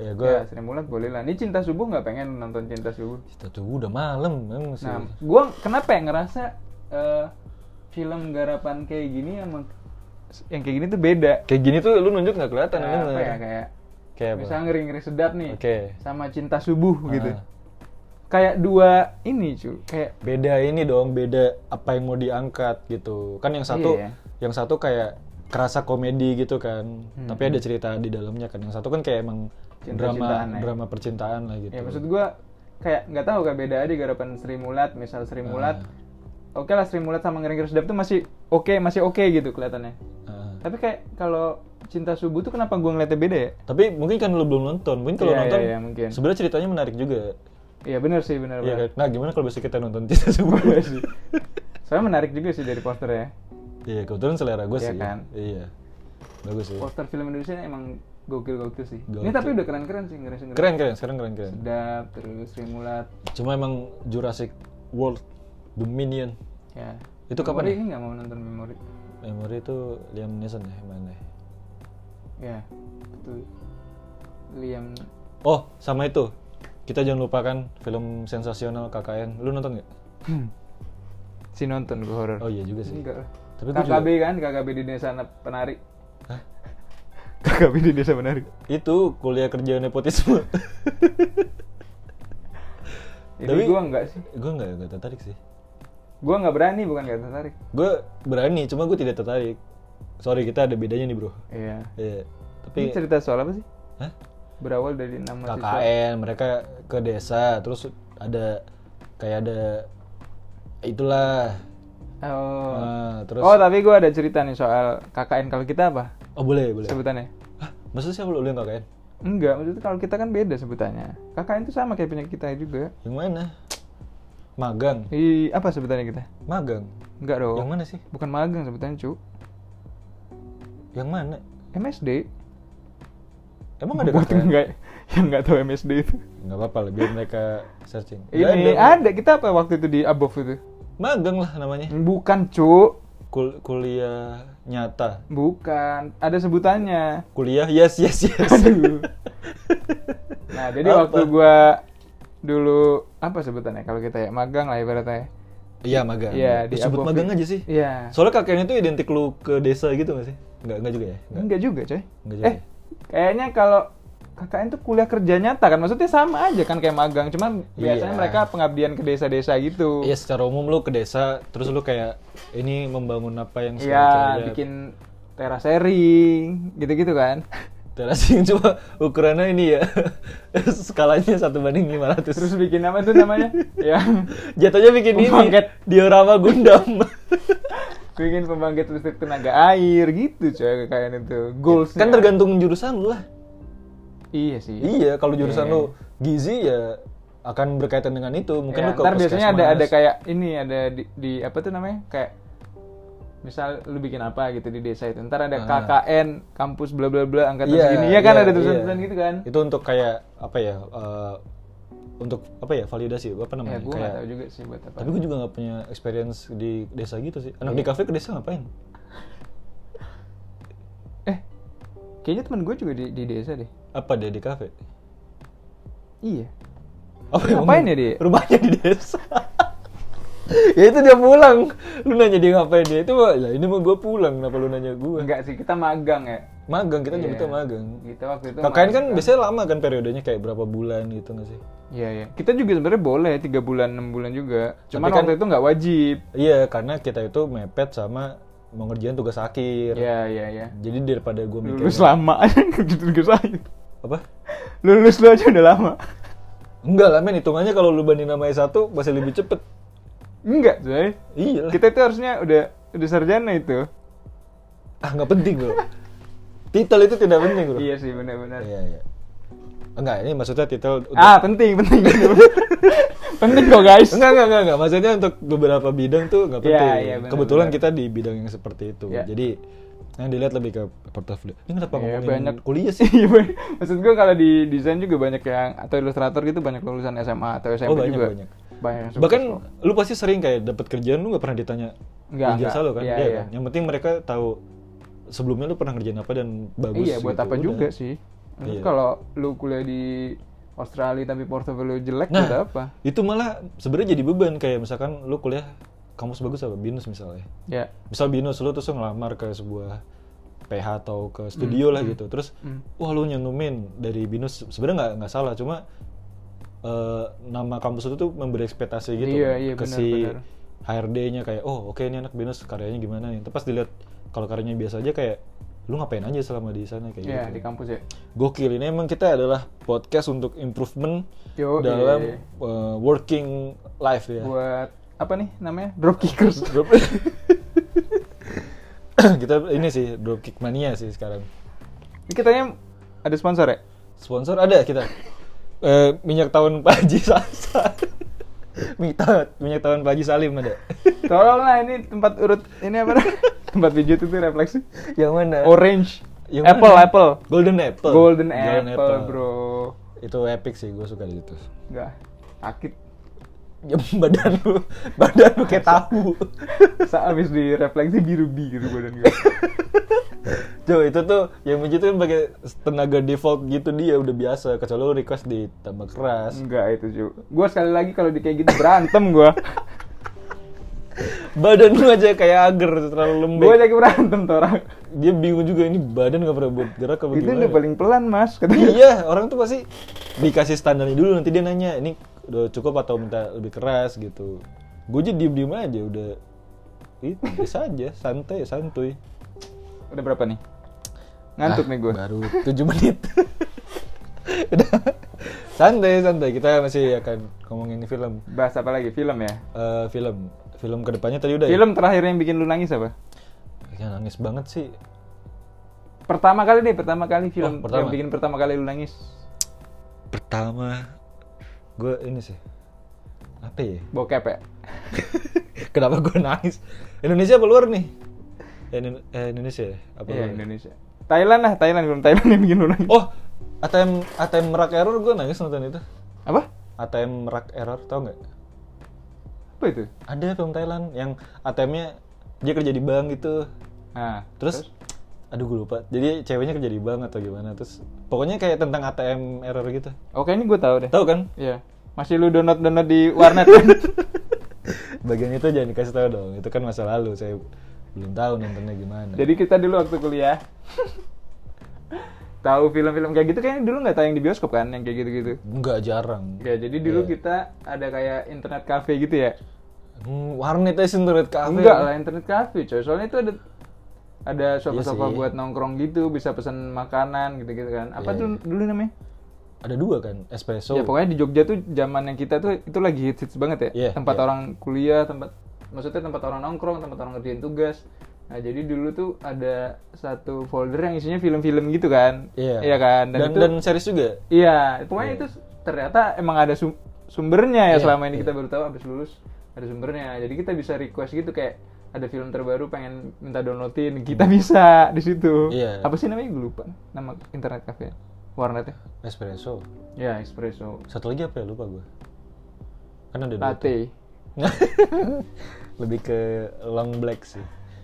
Speaker 1: Ya
Speaker 2: gue
Speaker 1: gue
Speaker 2: ya, Sri Mulat boleh lah ini cinta subuh nggak pengen nonton cinta subuh
Speaker 1: Kita tuh udah malam memang sih.
Speaker 2: Nah, gue kenapa ya ngerasa eh, film garapan kayak gini sama yang kayak gini tuh beda.
Speaker 1: Kayak gini tuh lu nunjuk nggak kelihatan
Speaker 2: Kayak
Speaker 1: bener.
Speaker 2: apa ya kayak
Speaker 1: Kayak Iya, apa?
Speaker 2: misalnya ngeri ngeri sedap nih,
Speaker 1: Oke.
Speaker 2: sama cinta subuh gitu.
Speaker 1: Ah.
Speaker 2: Kayak dua ini cuy, kayak
Speaker 1: Beda ini dong, beda apa yang mau diangkat gitu. Kan yang satu
Speaker 2: Iya.
Speaker 1: yang satu kayak kerasa komedi gitu kan.
Speaker 2: Hmm.
Speaker 1: Tapi ada cerita di dalamnya kan. Yang satu kan kayak emang
Speaker 2: Cinta-cintaan
Speaker 1: drama
Speaker 2: lah ya.
Speaker 1: drama percintaan lah gitu.
Speaker 2: ya maksud gue kayak nggak tahu kayak beda aja garapan Sri Mulat,
Speaker 1: Ah.
Speaker 2: misal Sri Mulat. Oke lah Sri Mulat sama ngeri ngeri sedap tuh masih oke masih oke gitu kelihatannya.
Speaker 1: Ah.
Speaker 2: Tapi kayak kalau cinta subuh tuh kenapa gue ngeliatnya beda ya?
Speaker 1: Tapi mungkin kan lu belum nonton. Mungkin kalau
Speaker 2: Iya, iya,
Speaker 1: nonton
Speaker 2: iya, mungkin.
Speaker 1: sebenarnya ceritanya menarik juga.
Speaker 2: Iya bener sih bener
Speaker 1: Iya
Speaker 2: bener.
Speaker 1: kan? Nah, gimana kalau besok kita nonton Cinta Subuh?
Speaker 2: Boleh sih. Iya. Soalnya menarik juga sih dari ya. posternya.
Speaker 1: Iya, kebetulan selera gue
Speaker 2: Iya
Speaker 1: sih.
Speaker 2: kan?
Speaker 1: Iya. Bagus sih.
Speaker 2: Poster film Indonesia ini emang gokil-gokil sih. Ini
Speaker 1: Gokil.
Speaker 2: tapi udah keren-keren sih, keren-keren.
Speaker 1: Keren keren, sekarang keren keren.
Speaker 2: Sedap, terus Sri Mulat.
Speaker 1: Cuma emang Jurassic World Dominion
Speaker 2: Ya.
Speaker 1: Itu kapan
Speaker 2: Memori
Speaker 1: ya?
Speaker 2: Ini nggak mau nonton memori.
Speaker 1: Memory itu Liam Neeson ya mana ya?
Speaker 2: Ya. Itu Liam
Speaker 1: Oh sama itu kita jangan lupakan film sensasional KKN. Lu nonton nggak?
Speaker 2: si nonton gue horor.
Speaker 1: Oh iya juga sih.
Speaker 2: Enggak lah.
Speaker 1: Tapi gua
Speaker 2: KKB
Speaker 1: juga-
Speaker 2: kan, KKB di desa Na- penari.
Speaker 1: Hah?
Speaker 2: KKB di desa penari.
Speaker 1: Itu kuliah kerja nepotisme.
Speaker 2: Jadi
Speaker 1: Tapi-
Speaker 2: gua enggak sih.
Speaker 1: gue nggak nggak tertarik sih.
Speaker 2: Gua nggak berani bukan nggak tertarik.
Speaker 1: Gue berani, cuma gue tidak tertarik. Sorry kita ada bedanya nih bro.
Speaker 2: Iya.
Speaker 1: Iya. Tapi
Speaker 2: Ini cerita soal apa sih?
Speaker 1: Hah?
Speaker 2: Berawal dari nama siswa.
Speaker 1: KKN mereka ke desa terus ada kayak ada itulah.
Speaker 2: Oh.
Speaker 1: Nah, terus
Speaker 2: Oh tapi gue ada cerita nih soal KKN kalau kita apa
Speaker 1: oh boleh boleh.
Speaker 2: sebutannya?
Speaker 1: Hah, maksudnya siapa lu lu yang KKN?
Speaker 2: Enggak, maksudnya kalau kita kan beda sebutannya. KKN itu sama kayak punya kita juga.
Speaker 1: Yang mana? Magang.
Speaker 2: Di apa sebutannya kita?
Speaker 1: Magang.
Speaker 2: Enggak dong.
Speaker 1: Yang mana sih?
Speaker 2: Bukan magang sebutannya cu.
Speaker 1: Yang mana?
Speaker 2: MSD.
Speaker 1: Emang ada
Speaker 2: Buat
Speaker 1: KKN?
Speaker 2: enggak yang enggak tahu MSD itu.
Speaker 1: Nggak apa-apa lah, biar mereka searching.
Speaker 2: Ini
Speaker 1: Nggak
Speaker 2: ada kita apa waktu itu di Above itu?
Speaker 1: Magang lah namanya.
Speaker 2: Bukan cu,
Speaker 1: Kul- kuliah nyata.
Speaker 2: bukan. Ada sebutannya.
Speaker 1: Kuliah yes yes yes.
Speaker 2: Aduh. Nah, jadi
Speaker 1: Apa?
Speaker 2: waktu gua dulu apa sebutannya kalau kita ya magang lah ibaratnya.
Speaker 1: Iya magang.
Speaker 2: Iya,
Speaker 1: Lu
Speaker 2: di
Speaker 1: sebut
Speaker 2: Abovi.
Speaker 1: magang aja sih.
Speaker 2: Iya.
Speaker 1: Soalnya KKN itu identik lu ke desa gitu nggak sih? Nggak, nggak juga ya? Nggak.
Speaker 2: Enggak juga, coy.
Speaker 1: Enggak juga.
Speaker 2: eh, kayaknya kalau KKN tuh kuliah kerja nyata kan, maksudnya sama aja kan kayak magang, cuman biasanya
Speaker 1: Iya.
Speaker 2: mereka pengabdian ke desa-desa gitu.
Speaker 1: Iya secara umum lu ke desa, terus lu kayak ini membangun apa yang
Speaker 2: Iya,
Speaker 1: saya
Speaker 2: bikin terasering gitu-gitu kan.
Speaker 1: terasing cuma ukurannya ini ya skalanya satu banding 500
Speaker 2: Terus bikin apa tuh namanya? ya,
Speaker 1: jatuhnya bikin ini
Speaker 2: Pembangkit.
Speaker 1: diorama Gundam
Speaker 2: bikin pembangkit listrik tenaga air gitu coy KKN itu. Goals
Speaker 1: kan tergantung jurusan lu lah
Speaker 2: Iya sih.
Speaker 1: iya kalau jurusan lu gizi ya akan berkaitan dengan itu mungkin
Speaker 2: Ya,
Speaker 1: lu ke
Speaker 2: ntar biasanya ada
Speaker 1: puskesmas.
Speaker 2: ada kayak ini ada di, di apa tuh namanya kayak misal lu bikin apa gitu di desa itu ntar ada
Speaker 1: Ah.
Speaker 2: KKN kampus bla bla bla angkatan
Speaker 1: Iya,
Speaker 2: segini ya kan
Speaker 1: iya,
Speaker 2: ada tulisan-tulisan
Speaker 1: iya.
Speaker 2: gitu kan
Speaker 1: itu untuk kayak apa ya eh, untuk apa ya validasi apa
Speaker 2: ya
Speaker 1: namanya
Speaker 2: gue
Speaker 1: kayak
Speaker 2: nggak tahu juga sih buat apa
Speaker 1: tapi gue juga nggak punya experience di desa gitu sih
Speaker 2: Iya.
Speaker 1: anak di kafe ke desa ngapain
Speaker 2: eh kayaknya temen gue juga di, di desa deh
Speaker 1: apa dia di kafe
Speaker 2: iya
Speaker 1: Apa yang
Speaker 2: Ngapain
Speaker 1: ngomong?
Speaker 2: ya dia?
Speaker 1: Rumahnya di desa. ya itu dia pulang. Lu nanya dia ngapain dia itu mah, ya ini mah gue pulang kenapa lu nanya gue?
Speaker 2: enggak sih kita magang ya
Speaker 1: Magang kita nyebutnya
Speaker 2: Iya.
Speaker 1: magang.
Speaker 2: gitu waktu itu
Speaker 1: KKN kan
Speaker 2: magang.
Speaker 1: biasanya lama kan periodenya kayak berapa bulan gitu nggak sih?
Speaker 2: iya iya kita juga sebenarnya boleh tiga bulan enam bulan juga cuman
Speaker 1: kan-
Speaker 2: waktu itu nggak wajib
Speaker 1: Iya karena kita itu mepet sama mau ngerjain tugas akhir.
Speaker 2: iya iya iya
Speaker 1: Jadi daripada gue mikir
Speaker 2: lulus lama gitu gitu aja
Speaker 1: apa?
Speaker 2: lulus lu aja udah lama
Speaker 1: Enggak lah men hitungannya kalau lu banding nama S1 masih lebih cepet.
Speaker 2: Enggak, Zoy.
Speaker 1: Iya lah.
Speaker 2: Kita itu harusnya udah udah sarjana itu.
Speaker 1: Ah nggak penting bro. titel itu tidak penting bro
Speaker 2: Iya sih benar-benar.
Speaker 1: iya iya enggak ini maksudnya titel untuk-
Speaker 2: Ah penting penting penting kok guys.
Speaker 1: Enggak, enggak, enggak, enggak. Maksudnya untuk beberapa bidang tuh enggak
Speaker 2: Iya,
Speaker 1: penting.
Speaker 2: iya, benar,
Speaker 1: Kebetulan
Speaker 2: benar.
Speaker 1: kita di bidang yang seperti itu.
Speaker 2: Iya.
Speaker 1: Jadi yang dilihat lebih ke portofolio. Ini kenapa
Speaker 2: Iya,
Speaker 1: ngomongin
Speaker 2: banyak.
Speaker 1: kuliah sih?
Speaker 2: Iya, Boy. maksud gue kalau di desain juga banyak yang atau ilustrator gitu banyak lulusan SMA atau SMP
Speaker 1: Oh, banyak,
Speaker 2: juga.
Speaker 1: banyak.
Speaker 2: Banyak. yang sukses
Speaker 1: Bahkan
Speaker 2: kok.
Speaker 1: lu pasti sering kayak dapat kerjaan lu nggak pernah ditanya
Speaker 2: Enggak,
Speaker 1: ijazah
Speaker 2: enggak.
Speaker 1: lu kan?
Speaker 2: Iya,
Speaker 1: Iya
Speaker 2: iya.
Speaker 1: kan? Yang penting mereka tahu sebelumnya lu pernah ngerjain apa dan bagus.
Speaker 2: Iya, buat
Speaker 1: gitu.
Speaker 2: apa
Speaker 1: Udah.
Speaker 2: juga sih? Terus
Speaker 1: Iya.
Speaker 2: kalau lu kuliah di Australia tapi portofolio jelek
Speaker 1: Nah.
Speaker 2: buat apa?
Speaker 1: Itu malah sebenarnya jadi beban kayak misalkan lu kuliah kampus bagus apa binus misalnya.
Speaker 2: Ya.
Speaker 1: misal binus lu terus lu ngelamar ke sebuah PH atau ke
Speaker 2: Hmm.
Speaker 1: studio lah gitu terus wah lu nyenumin dari binus sebenarnya nggak nggak salah cuma eh, nama kampus itu tuh memberi ekspektasi gitu
Speaker 2: Iya, iya,
Speaker 1: ke
Speaker 2: benar,
Speaker 1: si
Speaker 2: benar.
Speaker 1: HRD-nya kayak oh oke ini anak binus karyanya gimana nih terus pas dilihat kalau karyanya biasa aja kayak lu ngapain aja selama di sana kayak
Speaker 2: Ya,
Speaker 1: gitu
Speaker 2: di kampus ya.
Speaker 1: gokil ini emang kita adalah podcast untuk improvement
Speaker 2: Yo,
Speaker 1: dalam
Speaker 2: iya.
Speaker 1: eh, working life ya
Speaker 2: Buat apa nih namanya? Drop kickers.
Speaker 1: Drop- kita ini sih dropkick mania sih sekarang
Speaker 2: Ini Kitanya ada sponsor ya?
Speaker 1: sponsor ada kita Eh, minyak tawon Pak Haji Sasa minyak tawon minyak tawon Pak Haji Salim ada
Speaker 2: Tolonglah ini tempat urut ini apa? namanya? tempat pijit itu refleksi.
Speaker 1: yang mana
Speaker 2: Orange.
Speaker 1: Yang
Speaker 2: apple,
Speaker 1: mana?
Speaker 2: apple.
Speaker 1: golden apple
Speaker 2: Golden, apple, bro.
Speaker 1: itu epic sih gue suka di situ
Speaker 2: Enggak. Sakit.
Speaker 1: Ya, badan lu badan lu kayak tahu
Speaker 2: Saya habis direfleksi biru-biru badan gue.
Speaker 1: Coba itu tuh yang begitu kan pakai tenaga default gitu dia udah biasa kecuali lu request ditambah keras
Speaker 2: Enggak itu, Ju. Gua sekali lagi kalau di kayak gitu berantem gua.
Speaker 1: badan lu aja kayak agar terlalu lembek
Speaker 2: gua lagi berantem tuh orang.
Speaker 1: dia bingung juga ini badan nggak pernah buat gerak apa
Speaker 2: Itu
Speaker 1: gimana ya?
Speaker 2: udah paling pelan, Mas. Katanya.
Speaker 1: iya orang tuh pasti dikasih standarnya dulu nanti dia nanya ini udah cukup atau minta lebih keras gitu gue aja diem diem aja udah itu biasa aja santai santuy
Speaker 2: Udah berapa nih? Ngantuk
Speaker 1: Ah,
Speaker 2: nih gua.
Speaker 1: baru 7 menit udah santai santai kita masih akan ngomongin film
Speaker 2: Bahas apa lagi? Film ya?
Speaker 1: Eh, film film kedepannya tadi udah
Speaker 2: Film terakhir yang bikin lu nangis apa?
Speaker 1: ya? ya nangis banget sih
Speaker 2: Pertama kali deh, pertama kali film
Speaker 1: Oh, pertama.
Speaker 2: yang bikin pertama kali lu nangis.
Speaker 1: pertama gue ini sih apa ya
Speaker 2: Bokep ya?
Speaker 1: Kenapa gue nangis? Indonesia apa luar nih? Indo- eh, Indonesia ya? apa
Speaker 2: Iya,
Speaker 1: luar?
Speaker 2: Indonesia. Thailand lah, Thailand film Thailand yang bikin lu nangis.
Speaker 1: Oh, ATM ATM merak error gue nangis nonton itu.
Speaker 2: Apa?
Speaker 1: ATM merak error tau nggak?
Speaker 2: Apa itu?
Speaker 1: Ada film Thailand yang ATM-nya dia kerja di bank gitu.
Speaker 2: Nah,
Speaker 1: Terus, aduh gue lupa. Jadi ceweknya kerja di bank atau gimana? Terus pokoknya kayak tentang ATM error gitu.
Speaker 2: Oke, ini gue Oh, tahu deh.
Speaker 1: Tahu kan?
Speaker 2: Iya. Masih lu download-download di warnet kan?
Speaker 1: Bagian itu jangan dikasih tahu dong. Itu kan masa lalu. Saya belum tahu nontonnya gimana.
Speaker 2: Jadi kita dulu waktu kuliah tahu film-film kayak gitu kayaknya dulu nggak tayang di bioskop kan yang kayak gitu-gitu.
Speaker 1: nggak jarang.
Speaker 2: Ya, jadi dulu
Speaker 1: Iya.
Speaker 2: kita ada kayak internet cafe gitu ya.
Speaker 1: Hmm, warnet aja internet cafe.
Speaker 2: Enggak lah ya. internet cafe, coy. Soalnya itu ada ada sofa-sofa
Speaker 1: Iya sih.
Speaker 2: buat nongkrong gitu, bisa pesan makanan gitu-gitu kan. Apa
Speaker 1: Iya,
Speaker 2: tuh dulu namanya?
Speaker 1: Ada dua kan, espresso.
Speaker 2: ya pokoknya di Jogja tuh zaman yang kita tuh itu lagi hits hits banget ya.
Speaker 1: Iya,
Speaker 2: tempat
Speaker 1: iya.
Speaker 2: orang kuliah, tempat maksudnya tempat orang nongkrong, tempat orang ngerjain tugas. Nah jadi dulu tuh ada satu folder yang isinya film-film gitu kan.
Speaker 1: Iya.
Speaker 2: Iya kan.
Speaker 1: Dan dan,
Speaker 2: itu,
Speaker 1: series juga.
Speaker 2: iya. Pokoknya itu ternyata emang ada sum- sumbernya ya
Speaker 1: Iya,
Speaker 2: selama ini
Speaker 1: iya.
Speaker 2: kita baru tahu abis lulus ada sumbernya. Jadi kita bisa request gitu kayak ada film terbaru pengen minta downloadin kita bisa di
Speaker 1: Hmm.
Speaker 2: situ.
Speaker 1: Iya.
Speaker 2: Apa sih namanya gue lupa nama internet cafe warnetnya.
Speaker 1: Espresso.
Speaker 2: Ya espresso
Speaker 1: Satu lagi apa ya lupa gue. Kan ada dua. tuh.
Speaker 2: latte.
Speaker 1: Lebih ke long black sih.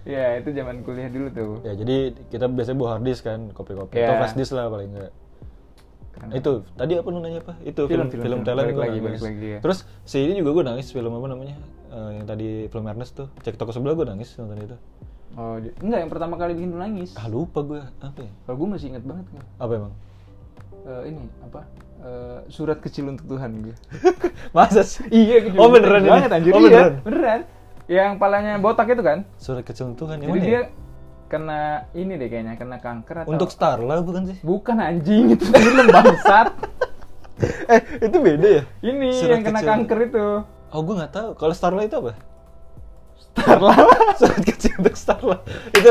Speaker 2: Iya, itu zaman kuliah dulu tuh.
Speaker 1: Ya jadi kita biasanya bawa hard disk kan, kopi-kopi atau
Speaker 2: Iya.
Speaker 1: flash disk lah paling enggak.
Speaker 2: Keren.
Speaker 1: Itu tadi apa lu nanya apa? Itu film
Speaker 2: Film, film,
Speaker 1: film,
Speaker 2: film.
Speaker 1: Thailand
Speaker 2: Balik
Speaker 1: gua
Speaker 2: lagi,
Speaker 1: nangis.
Speaker 2: balik lagi, ya.
Speaker 1: Terus si ini juga gue nangis film apa namanya? Eh, yang tadi film Ernest tuh cek toko sebelah gue nangis nonton itu
Speaker 2: Oh, di- enggak yang pertama kali bikin lu nangis.
Speaker 1: ah lupa gue apa ya?
Speaker 2: Kalau gue masih inget banget gua.
Speaker 1: apa emang
Speaker 2: Eh, ini apa? Eh, surat kecil untuk Tuhan gue.
Speaker 1: masa sih
Speaker 2: iya, kecil
Speaker 1: oh
Speaker 2: untuk
Speaker 1: beneran
Speaker 2: Tuhan
Speaker 1: ini?
Speaker 2: banget anjir.
Speaker 1: oh
Speaker 2: Iya,
Speaker 1: beneran
Speaker 2: beneran. Yang palanya botak itu kan?
Speaker 1: surat kecil Tuhan yang
Speaker 2: Jadi
Speaker 1: mana ya?
Speaker 2: dia kena ini deh kayaknya, kena kanker atau
Speaker 1: untuk Starla bukan sih
Speaker 2: bukan anjing itu film bangsat.
Speaker 1: eh itu beda ya
Speaker 2: Ini
Speaker 1: Surat
Speaker 2: yang kena
Speaker 1: kecil.
Speaker 2: kanker itu.
Speaker 1: oh gue nggak tahu kalau Starla itu apa
Speaker 2: Starla.
Speaker 1: surat kecil untuk Starla itu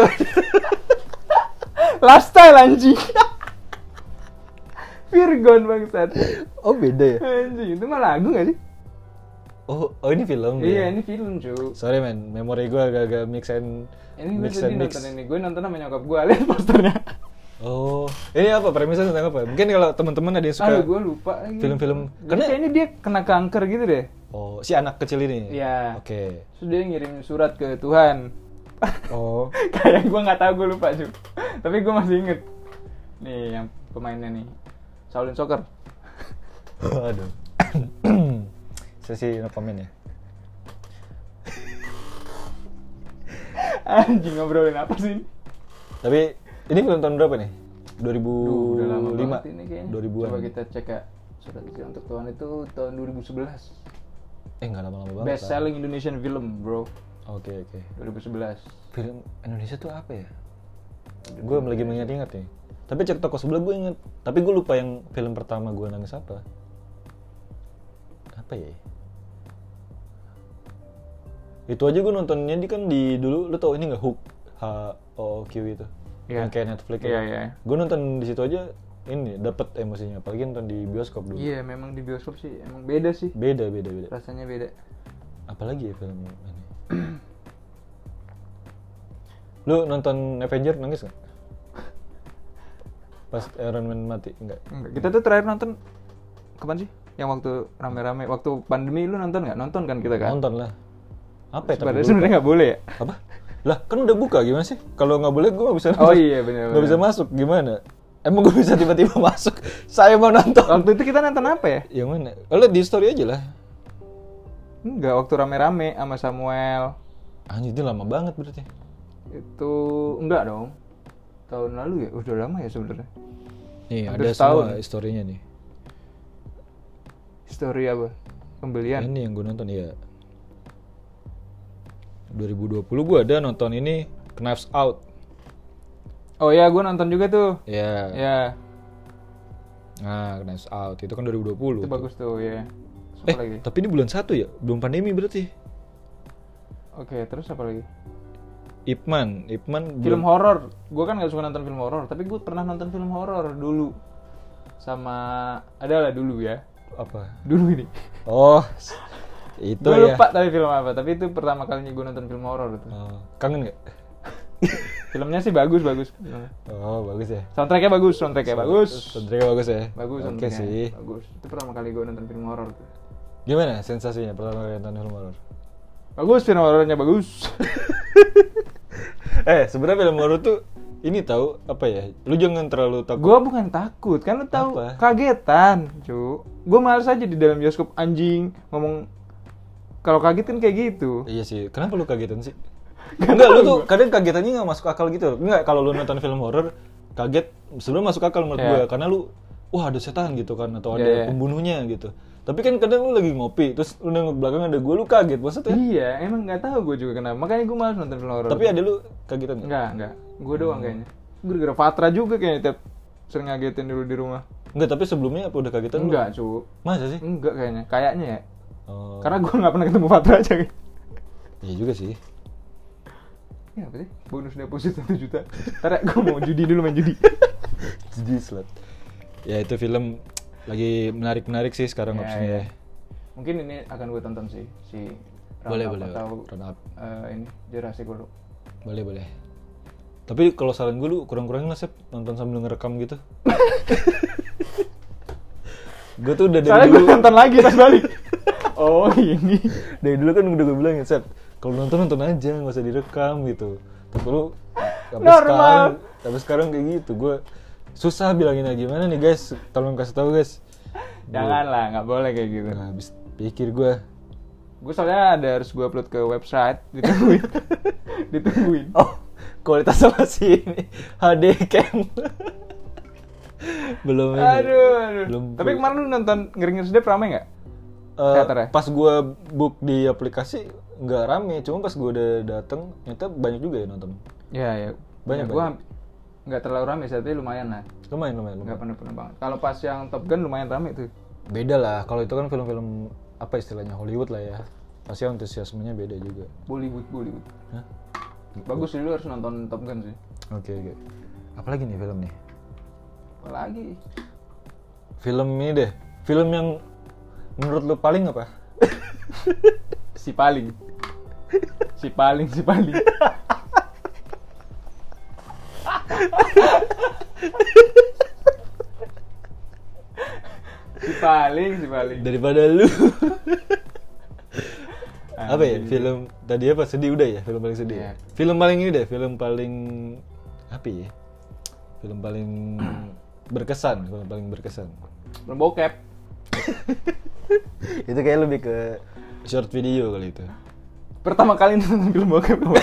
Speaker 2: Lifestyle anjing. Virgon bangsat.
Speaker 1: Oh beda ya.
Speaker 2: Anjing, itu mah lagu gak sih?
Speaker 1: Oh, oh ini film.
Speaker 2: Iya,
Speaker 1: ya?
Speaker 2: ini film, cuy.
Speaker 1: Sorry men, memori gue agak-agak mix and
Speaker 2: Ini gue
Speaker 1: mix
Speaker 2: sedih
Speaker 1: and mix.
Speaker 2: nonton ini. Gue nonton sama nyokap gue, lihat posternya.
Speaker 1: Oh, ini apa premisnya tentang apa? Mungkin kalau teman-teman ada yang suka
Speaker 2: Aduh, gue lupa lagi.
Speaker 1: film-film.
Speaker 2: Dia
Speaker 1: Karena-
Speaker 2: kayaknya dia kena kanker gitu deh.
Speaker 1: Oh, si anak kecil ini.
Speaker 2: Iya.
Speaker 1: Oke.
Speaker 2: Terus dia ngirim surat ke Tuhan.
Speaker 1: Oh.
Speaker 2: Kayak gue nggak tahu gue lupa cuy. Tapi gue masih inget. Nih yang pemainnya nih. Shaolin Soccer.
Speaker 1: Aduh. Sesi no comment ya.
Speaker 2: Anjing ngobrolin apa sih? ini?
Speaker 1: Tapi ini film tahun berapa nih?
Speaker 2: Duh,
Speaker 1: 2005.
Speaker 2: udah lama banget ini kayaknya.
Speaker 1: 2000-an.
Speaker 2: Coba kita cek ya. Surat Izin untuk Tuhan itu tahun 2011.
Speaker 1: Eh, enggak lama-lama banget.
Speaker 2: Best
Speaker 1: lah.
Speaker 2: selling Indonesian film, bro.
Speaker 1: Oke, oke.
Speaker 2: 2011.
Speaker 1: Film Indonesia tuh apa ya? Gue lagi mengingat-ingat nih. Tapi cek toko sebelah gue inget. Tapi gue lupa yang film pertama gue nangis apa. Apa ya? Itu aja gue nontonnya di kan di dulu. Lu tau ini nggak Hook? H O Q itu.
Speaker 2: Iya.
Speaker 1: Yang kayak Netflix.
Speaker 2: Iya, iya.
Speaker 1: Gue nonton di situ aja ini dapat emosinya. Apalagi nonton di bioskop dulu.
Speaker 2: Iya, memang di bioskop sih emang beda sih.
Speaker 1: Beda, beda, beda.
Speaker 2: Rasanya beda.
Speaker 1: Apalagi ya film ini? Lu nonton Avenger nangis nggak? Pas Iron Man mati nggak?
Speaker 2: Enggak, Kita tuh terakhir nonton kapan sih? Yang waktu rame-rame, waktu pandemi lu nonton nggak? Nonton kan kita kan?
Speaker 1: Nonton lah. Apa ya? tapi
Speaker 2: Sebenarnya
Speaker 1: gua-
Speaker 2: sebenarnya nggak boleh ya.
Speaker 1: Apa? Lah kan udah buka gimana sih? Kalau nggak boleh gue nggak bisa.
Speaker 2: Oh
Speaker 1: nonton.
Speaker 2: iya benar.
Speaker 1: Nggak bisa masuk gimana? Emang gue bisa tiba-tiba masuk? Saya mau nonton.
Speaker 2: Waktu itu kita nonton apa ya?
Speaker 1: Yang mana? Oh, Lu di story aja lah.
Speaker 2: Enggak, waktu rame-rame sama Samuel.
Speaker 1: Anjir itu lama banget berarti.
Speaker 2: Itu enggak dong. Tahun lalu ya, udah lama ya sebenarnya.
Speaker 1: Nih
Speaker 2: Hampir
Speaker 1: ada semua
Speaker 2: setahun.
Speaker 1: historinya nih.
Speaker 2: Story apa? Pembelian.
Speaker 1: Ini yang gue nonton ya. 2020 gue ada nonton ini Knives Out.
Speaker 2: Oh ya, gue nonton juga tuh.
Speaker 1: Ya.
Speaker 2: Ya,
Speaker 1: Nah, Knives Out itu kan
Speaker 2: itu
Speaker 1: 2020.
Speaker 2: bagus tuh ya. Terus
Speaker 1: Eh,
Speaker 2: Apa lagi?
Speaker 1: tapi ini bulan 1 ya? Belum pandemi berarti.
Speaker 2: Oke, terus apa lagi?
Speaker 1: Ip Man, Ip Man
Speaker 2: Film
Speaker 1: belum-
Speaker 2: horor. Gue kan nggak suka nonton film horor, tapi gue pernah nonton film horor dulu. Sama adalah dulu ya.
Speaker 1: apa?
Speaker 2: Dulu ini.
Speaker 1: Oh. s- itu
Speaker 2: Gue
Speaker 1: ya.
Speaker 2: lupa tapi film apa, tapi itu pertama kalinya gue nonton film horor itu.
Speaker 1: Oh, kangen nggak?
Speaker 2: Filmnya sih bagus-bagus.
Speaker 1: Oh, bagus ya.
Speaker 2: Soundtracknya bagus, soundtracknya bagus.
Speaker 1: Soundtracknya bagus ya.
Speaker 2: Bagus
Speaker 1: Oke
Speaker 2: soundtracknya.
Speaker 1: sih.
Speaker 2: Bagus. Itu pertama kali gue nonton film horor tuh.
Speaker 1: Gimana sensasinya pertama kali nonton film horor?
Speaker 2: Bagus film horornya bagus.
Speaker 1: eh, sebenarnya film horor tuh ini tahu apa ya? Lu jangan terlalu takut.
Speaker 2: Gua bukan takut, kan lu tahu
Speaker 1: Apa?
Speaker 2: kagetan, cu. Gua males aja di dalam bioskop anjing ngomong kalau kaget kan kayak gitu.
Speaker 1: Iya sih, kenapa lu kagetan sih? Enggak, lu tuh kadang kagetannya nggak masuk akal gitu. Enggak, kalau lu nonton film horor, kaget sebelum masuk akal menurut
Speaker 2: Iya.
Speaker 1: gua karena lu wah ada setan gitu kan atau ada
Speaker 2: Iya, iya.
Speaker 1: pembunuhnya gitu. Tapi kan kadang lu lagi ngopi, terus lu nengok belakang ada gua, lu kaget maksudnya.
Speaker 2: Iya, emang nggak tahu gue juga kenapa. Makanya gue malas nonton film horor.
Speaker 1: Tapi Hmm. ada lu kagetan nggak?
Speaker 2: enggak, enggak. Gue doang kayaknya. Gue gara-gara Fatra juga kayaknya tiap sering ngagetin dulu di rumah.
Speaker 1: Enggak, tapi sebelumnya apa udah kagetan? lu?
Speaker 2: Enggak, cu.
Speaker 1: Masa sih?
Speaker 2: Enggak kayaknya. Kayaknya ya.
Speaker 1: Oh,
Speaker 2: Karena gue nggak pernah ketemu Fatra aja. kan.
Speaker 1: iya juga sih.
Speaker 2: Ya apa sih? Bonus deposit 1 juta. Ntar ya, gue mau judi dulu main judi.
Speaker 1: Jadi slut. Ya itu film lagi menarik-menarik sih sekarang
Speaker 2: Iya,
Speaker 1: opsinya
Speaker 2: iya.
Speaker 1: ya.
Speaker 2: Mungkin ini akan gue tonton sih. Si
Speaker 1: Boleh,
Speaker 2: Roundup
Speaker 1: boleh.
Speaker 2: Atau
Speaker 1: Round up.
Speaker 2: eh, ini Jurassic World.
Speaker 1: Boleh, boleh. Tapi kalau saran gue lu kurang-kurangin lah, Sep. Nonton sambil ngerekam gitu. gue tuh udah dari
Speaker 2: Soalnya gue
Speaker 1: dulu,
Speaker 2: nonton lagi pas balik. oh ini.
Speaker 1: dari dulu kan udah gue bilang ya, Sep. Kalau nonton, nonton aja, nggak usah direkam gitu. Tapi lu, tapi
Speaker 2: Normal.
Speaker 1: sekarang, tapi sekarang kayak gitu. Gue susah bilanginnya gimana nih guys, tolong kasih tahu guys.
Speaker 2: Janganlah, nggak boleh kayak gitu.
Speaker 1: Nah, habis pikir gue,
Speaker 2: Gue soalnya ada harus gue upload ke website ditungguin. ditungguin.
Speaker 1: oh kualitas sama sih ini HD cam belum ini.
Speaker 2: Aduh, aduh.
Speaker 1: Belum
Speaker 2: Tapi
Speaker 1: full.
Speaker 2: kemarin lu nonton Ngeri Ngeri Sedap rame nggak?
Speaker 1: Eh,
Speaker 2: Teater ya?
Speaker 1: pas gue book di aplikasi nggak rame cuma pas gue udah dateng ternyata banyak juga ya nonton
Speaker 2: Ya, ya.
Speaker 1: Banyak,
Speaker 2: Gue
Speaker 1: banyak.
Speaker 2: nggak terlalu rame sih, tapi lumayan lah.
Speaker 1: lumayan lumayan,
Speaker 2: Nggak
Speaker 1: lumayan.
Speaker 2: penuh-penuh banget. Kalau pas yang Top Gun lumayan rame tuh.
Speaker 1: beda lah kalau itu kan film-film apa istilahnya Hollywood lah ya pasti antusiasmenya beda juga
Speaker 2: Bollywood, Bollywood.
Speaker 1: Hah?
Speaker 2: Bagus sih lu harus nonton Top Gun sih.
Speaker 1: oke oke Apalagi nih film nih?
Speaker 2: Apalagi
Speaker 1: Film ini deh. Film yang menurut lu paling apa?
Speaker 2: si paling. si paling, si paling. si paling, si paling.
Speaker 1: Daripada lu. apa ya?
Speaker 2: Anjing.
Speaker 1: Film tadi apa? Sedih udah ya? Film paling sedih. ya?
Speaker 2: Iya.
Speaker 1: Film paling ini deh, film paling apa ya? Film paling berkesan, film paling berkesan.
Speaker 2: Belum bokep.
Speaker 1: itu kayak lebih ke short video kali itu.
Speaker 2: Pertama kali nonton film bokep. gua.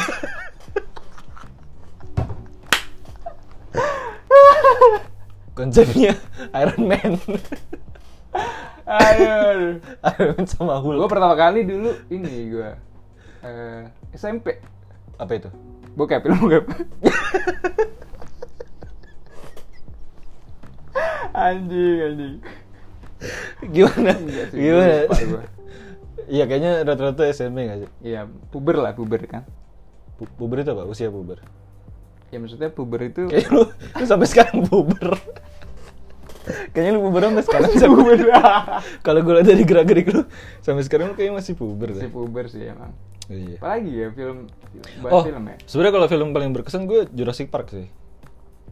Speaker 1: Konsepnya Iron Man.
Speaker 2: Aduh.
Speaker 1: Iron Man sama Hulk.
Speaker 2: Gue pertama kali dulu ini gue eh SMP
Speaker 1: apa itu?
Speaker 2: bokep film bokep anjing anjing
Speaker 1: Gimana?
Speaker 2: Enggak Iya sih,
Speaker 1: Gimana?
Speaker 2: lupa gua.
Speaker 1: Iya kayaknya rata-rata SMP nggak sih?
Speaker 2: iya puber lah puber kan
Speaker 1: Pu- Puber itu apa? Usia puber.
Speaker 2: ya maksudnya puber itu
Speaker 1: Kayaknya lu, lu sampai sekarang puber. kayaknya lu puber sampai sekarang.
Speaker 2: Masih
Speaker 1: Sam.
Speaker 2: puber.
Speaker 1: Kalau gue lihat dari gerak-gerik lu sampai sekarang lu kayaknya masih puber
Speaker 2: si
Speaker 1: deh.
Speaker 2: puber sih emang
Speaker 1: Iya.
Speaker 2: apalagi ya film film- bahas
Speaker 1: Oh,
Speaker 2: film ya
Speaker 1: sebenarnya kalau film paling berkesan gue Jurassic Park sih.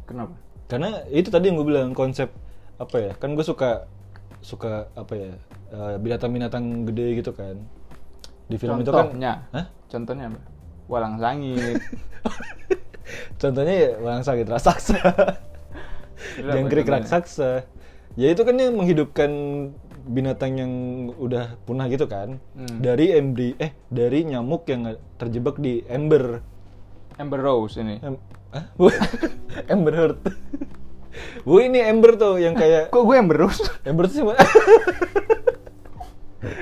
Speaker 2: kenapa
Speaker 1: karena itu tadi yang gue bilang konsep apa ya kan gue suka suka apa ya eh, binatang-binatang gede gitu kan di film itu kan
Speaker 2: Contohnya.
Speaker 1: Hah?
Speaker 2: contohnya apa walang sangit
Speaker 1: contohnya ya orang sakit raksasa
Speaker 2: Gila,
Speaker 1: jangkrik
Speaker 2: contohnya.
Speaker 1: raksasa ya itu kan yang menghidupkan binatang yang udah punah gitu kan
Speaker 2: Hmm.
Speaker 1: dari embri eh dari nyamuk yang terjebak di ember
Speaker 2: Amber Rose ini
Speaker 1: Em ah? Hah? ember heart bu ini ember tuh yang kayak
Speaker 2: kok gue Amber Rose
Speaker 1: Ember tuh yang mana?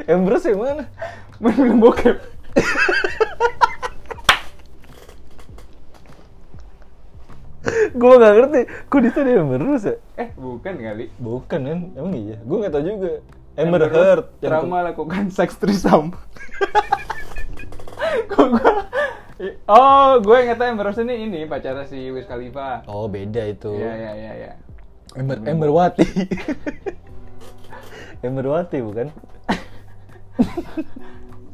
Speaker 1: Ember tuh yang mana?
Speaker 2: main film bokep
Speaker 1: Gue gak ngerti, kok itu dia Ember Rose ya?
Speaker 2: eh bukan kali
Speaker 1: Bukan kan, emang iya? Gue gak tau juga Ember Heard yang
Speaker 2: trauma lakukan seks trisam kok gua oh gue ingetnya Amber Rose ini ini pacarnya si Wiz Khalifa
Speaker 1: ke- Oh beda itu
Speaker 2: iya iya iya iya
Speaker 1: Ember, Ember Wati Ember Wati bukan?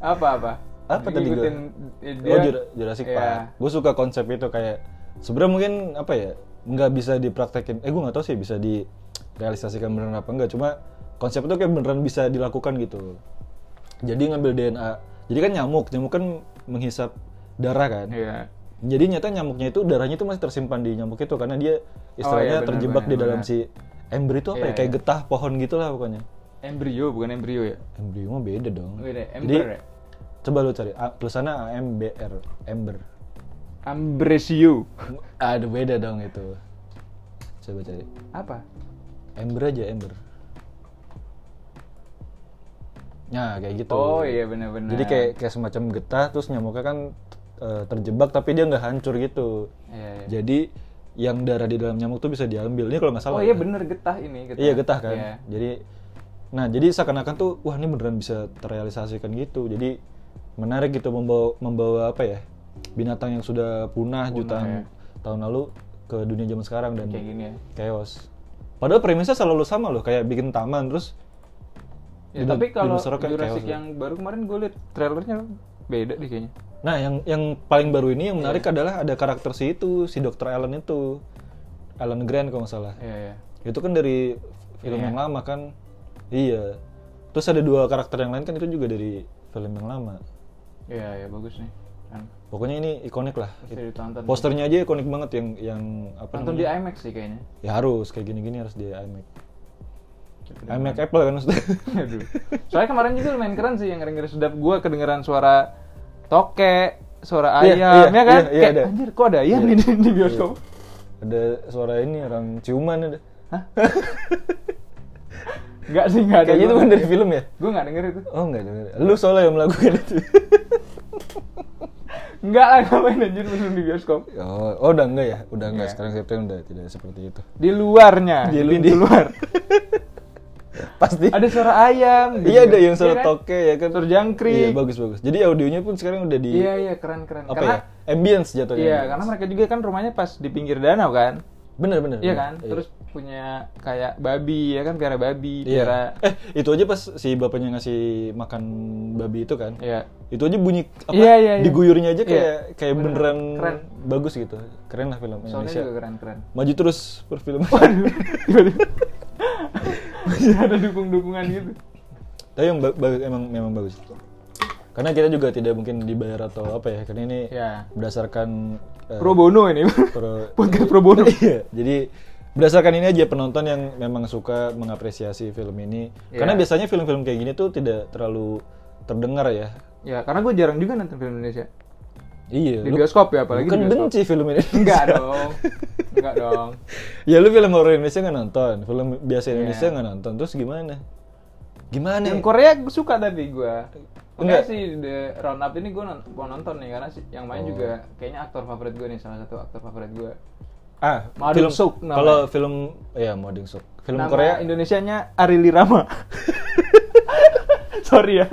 Speaker 2: apa apa
Speaker 1: Apa tadi
Speaker 2: Ngikutin eh,
Speaker 1: gue?
Speaker 2: dia
Speaker 1: Oh Jura- Jurassic
Speaker 2: Iya.
Speaker 1: Park Gue suka konsep itu kayak sebenarnya mungkin apa ya nggak bisa dipraktekin eh gue nggak tahu sih bisa direalisasikan beneran apa enggak cuma konsep itu kayak beneran bisa dilakukan gitu jadi ngambil DNA jadi kan nyamuk nyamuk kan menghisap darah kan
Speaker 2: iya
Speaker 1: jadi nyata nyamuknya itu darahnya itu masih tersimpan di nyamuk itu karena dia istilahnya
Speaker 2: Oh, iya, benar,
Speaker 1: terjebak
Speaker 2: benar,
Speaker 1: di dalam
Speaker 2: benar.
Speaker 1: si ember itu apa
Speaker 2: Iya,
Speaker 1: ya kayak
Speaker 2: iya.
Speaker 1: getah pohon gitulah pokoknya
Speaker 2: embrio bukan embrio ya
Speaker 1: embrio mah beda dong
Speaker 2: Beda,
Speaker 1: jadi
Speaker 2: ember ya?
Speaker 1: coba lu cari A, tulisannya AMBR ember
Speaker 2: ambresio
Speaker 1: aduh beda dong itu coba cari
Speaker 2: apa
Speaker 1: ember aja ember nah kayak gitu
Speaker 2: oh iya benar-benar
Speaker 1: Jadi kayak kayak semacam getah terus nyamuknya kan eh, terjebak tapi dia nggak hancur gitu.
Speaker 2: iya, iya.
Speaker 1: Jadi yang darah di dalam nyamuk tuh bisa diambil. Ini kalau nggak salah.
Speaker 2: oh iya
Speaker 1: ya.
Speaker 2: bener getah ini
Speaker 1: Iya getah kan.
Speaker 2: Iya.
Speaker 1: Jadi nah jadi seakan-akan tuh wah ini beneran bisa terrealisasikan gitu. Jadi menarik gitu membawa membawa apa ya binatang yang sudah punah, jutaan
Speaker 2: ya.
Speaker 1: tahun lalu ke dunia zaman sekarang dan
Speaker 2: kayak gini ya
Speaker 1: chaos. Padahal premisnya selalu sama loh kayak bikin taman terus
Speaker 2: Ya,
Speaker 1: Dino-
Speaker 2: tapi kalau
Speaker 1: dinosaur kan chaos,
Speaker 2: Jurassic ya. yang baru kemarin gue liat trailernya beda deh kayaknya.
Speaker 1: Nah, yang yang paling baru ini
Speaker 2: Iya.
Speaker 1: yang menarik adalah ada karakter si itu, si Dr. Alan itu. Alan Grant kalau nggak salah.
Speaker 2: Iya, iya.
Speaker 1: Itu kan dari film yang lama kan. Iya. Terus ada dua karakter yang lain kan itu juga dari film yang lama.
Speaker 2: Iya, iya bagus nih. Kan
Speaker 1: Pokoknya ini ikonik lah.
Speaker 2: pasti ditonton.
Speaker 1: Posternya aja ikonik banget yang yang apa
Speaker 2: Nonton di
Speaker 1: namanya?
Speaker 2: IMAX sih kayaknya.
Speaker 1: Ya harus kayak gini-gini harus di iMac. iMac Apple kan maksudnya.
Speaker 2: Aduh. Soalnya kemarin juga lumayan keren sih yang ngeri-ngeri sedap gua kedengeran suara tokek, suara
Speaker 1: Iya,
Speaker 2: ayam
Speaker 1: iya,
Speaker 2: ya kan?
Speaker 1: iya, iya,
Speaker 2: Kayak,
Speaker 1: ada. Iya.
Speaker 2: anjir kok ada ayam nih di, di bioskop.
Speaker 1: ada suara ini orang ciuman ada.
Speaker 2: Enggak sih, enggak ada.
Speaker 1: Kayaknya itu
Speaker 2: Gua
Speaker 1: kan
Speaker 2: nggak
Speaker 1: dari film ya?
Speaker 2: denger. Gua enggak denger itu.
Speaker 1: Oh enggak, enggak. Lu soalnya yang melakukan itu.
Speaker 2: Enggak lah ngapain anjir belum di bioskop.
Speaker 1: Oh, oh udah enggak ya? Udah enggak
Speaker 2: Iya.
Speaker 1: sekarang September udah tidak seperti itu.
Speaker 2: Di luarnya,
Speaker 1: Di
Speaker 2: di,
Speaker 1: lu-
Speaker 2: pintu
Speaker 1: di-
Speaker 2: luar.
Speaker 1: Pasti.
Speaker 2: ada suara ayam. gitu
Speaker 1: iya ada
Speaker 2: kan.
Speaker 1: yang suara
Speaker 2: kan?
Speaker 1: toke ya kan.
Speaker 2: Suara jangkrik.
Speaker 1: Iya bagus bagus. Jadi audionya pun sekarang udah di
Speaker 2: Iya iya keren keren.
Speaker 1: apa
Speaker 2: karena
Speaker 1: ya? Ambience jatuhnya.
Speaker 2: iya
Speaker 1: ambience.
Speaker 2: karena mereka juga kan rumahnya pas di pinggir danau kan.
Speaker 1: Bener bener.
Speaker 2: Iya
Speaker 1: bener.
Speaker 2: kan? Terus punya kayak babi ya kan piara babi,
Speaker 1: Iya.
Speaker 2: piara
Speaker 1: Eh, itu aja pas si bapaknya ngasih makan babi itu kan.
Speaker 2: ya
Speaker 1: Itu aja bunyi apa?
Speaker 2: Iya, iya, iya.
Speaker 1: Diguyurnya aja
Speaker 2: Iya.
Speaker 1: kayak kayak
Speaker 2: Bener.
Speaker 1: beneran
Speaker 2: Keren.
Speaker 1: bagus gitu. Keren lah film
Speaker 2: soalnya
Speaker 1: Indonesia.
Speaker 2: juga keren-keren.
Speaker 1: Maju terus perfilman.
Speaker 2: Tiba-tiba ada dukung-dukungan gitu.
Speaker 1: Tapi yang ba- ba- emang memang bagus. Karena kita juga tidak mungkin dibayar atau apa ya. Karena ini
Speaker 2: Ya.
Speaker 1: berdasarkan eh,
Speaker 2: Pro bono ini.
Speaker 1: pro-
Speaker 2: Podcast pro bono.
Speaker 1: Iya, jadi berdasarkan ini aja penonton yang memang suka mengapresiasi film ini.
Speaker 2: Iya.
Speaker 1: Karena biasanya film-film kayak gini tuh tidak terlalu terdengar ya.
Speaker 2: Ya, karena gue jarang juga nonton film Indonesia.
Speaker 1: Iya.
Speaker 2: Di
Speaker 1: lu-
Speaker 2: bioskop ya, apalagi di
Speaker 1: Bukan
Speaker 2: bioskop.
Speaker 1: benci film ini.
Speaker 2: Enggak dong. Enggak dong.
Speaker 1: ya lu film horor Indonesia nggak nonton, film
Speaker 2: Iya.
Speaker 1: biasa Indonesia nggak nonton, terus gimana? Gimana?
Speaker 2: Yang Korea gue suka tapi gue.
Speaker 1: Enggak.
Speaker 2: Enggak sih The Round Up ini gue mau nonton nih karena si- yang
Speaker 1: Oh.
Speaker 2: main juga kayaknya aktor favorit gue nih salah satu aktor favorit gue.
Speaker 1: ah,
Speaker 2: Madung
Speaker 1: film
Speaker 2: Suk namanya.
Speaker 1: Kalau film ya Madung Suk. Film
Speaker 2: Nama
Speaker 1: Korea
Speaker 2: Indonesianya Arili Rama. Sorry ya.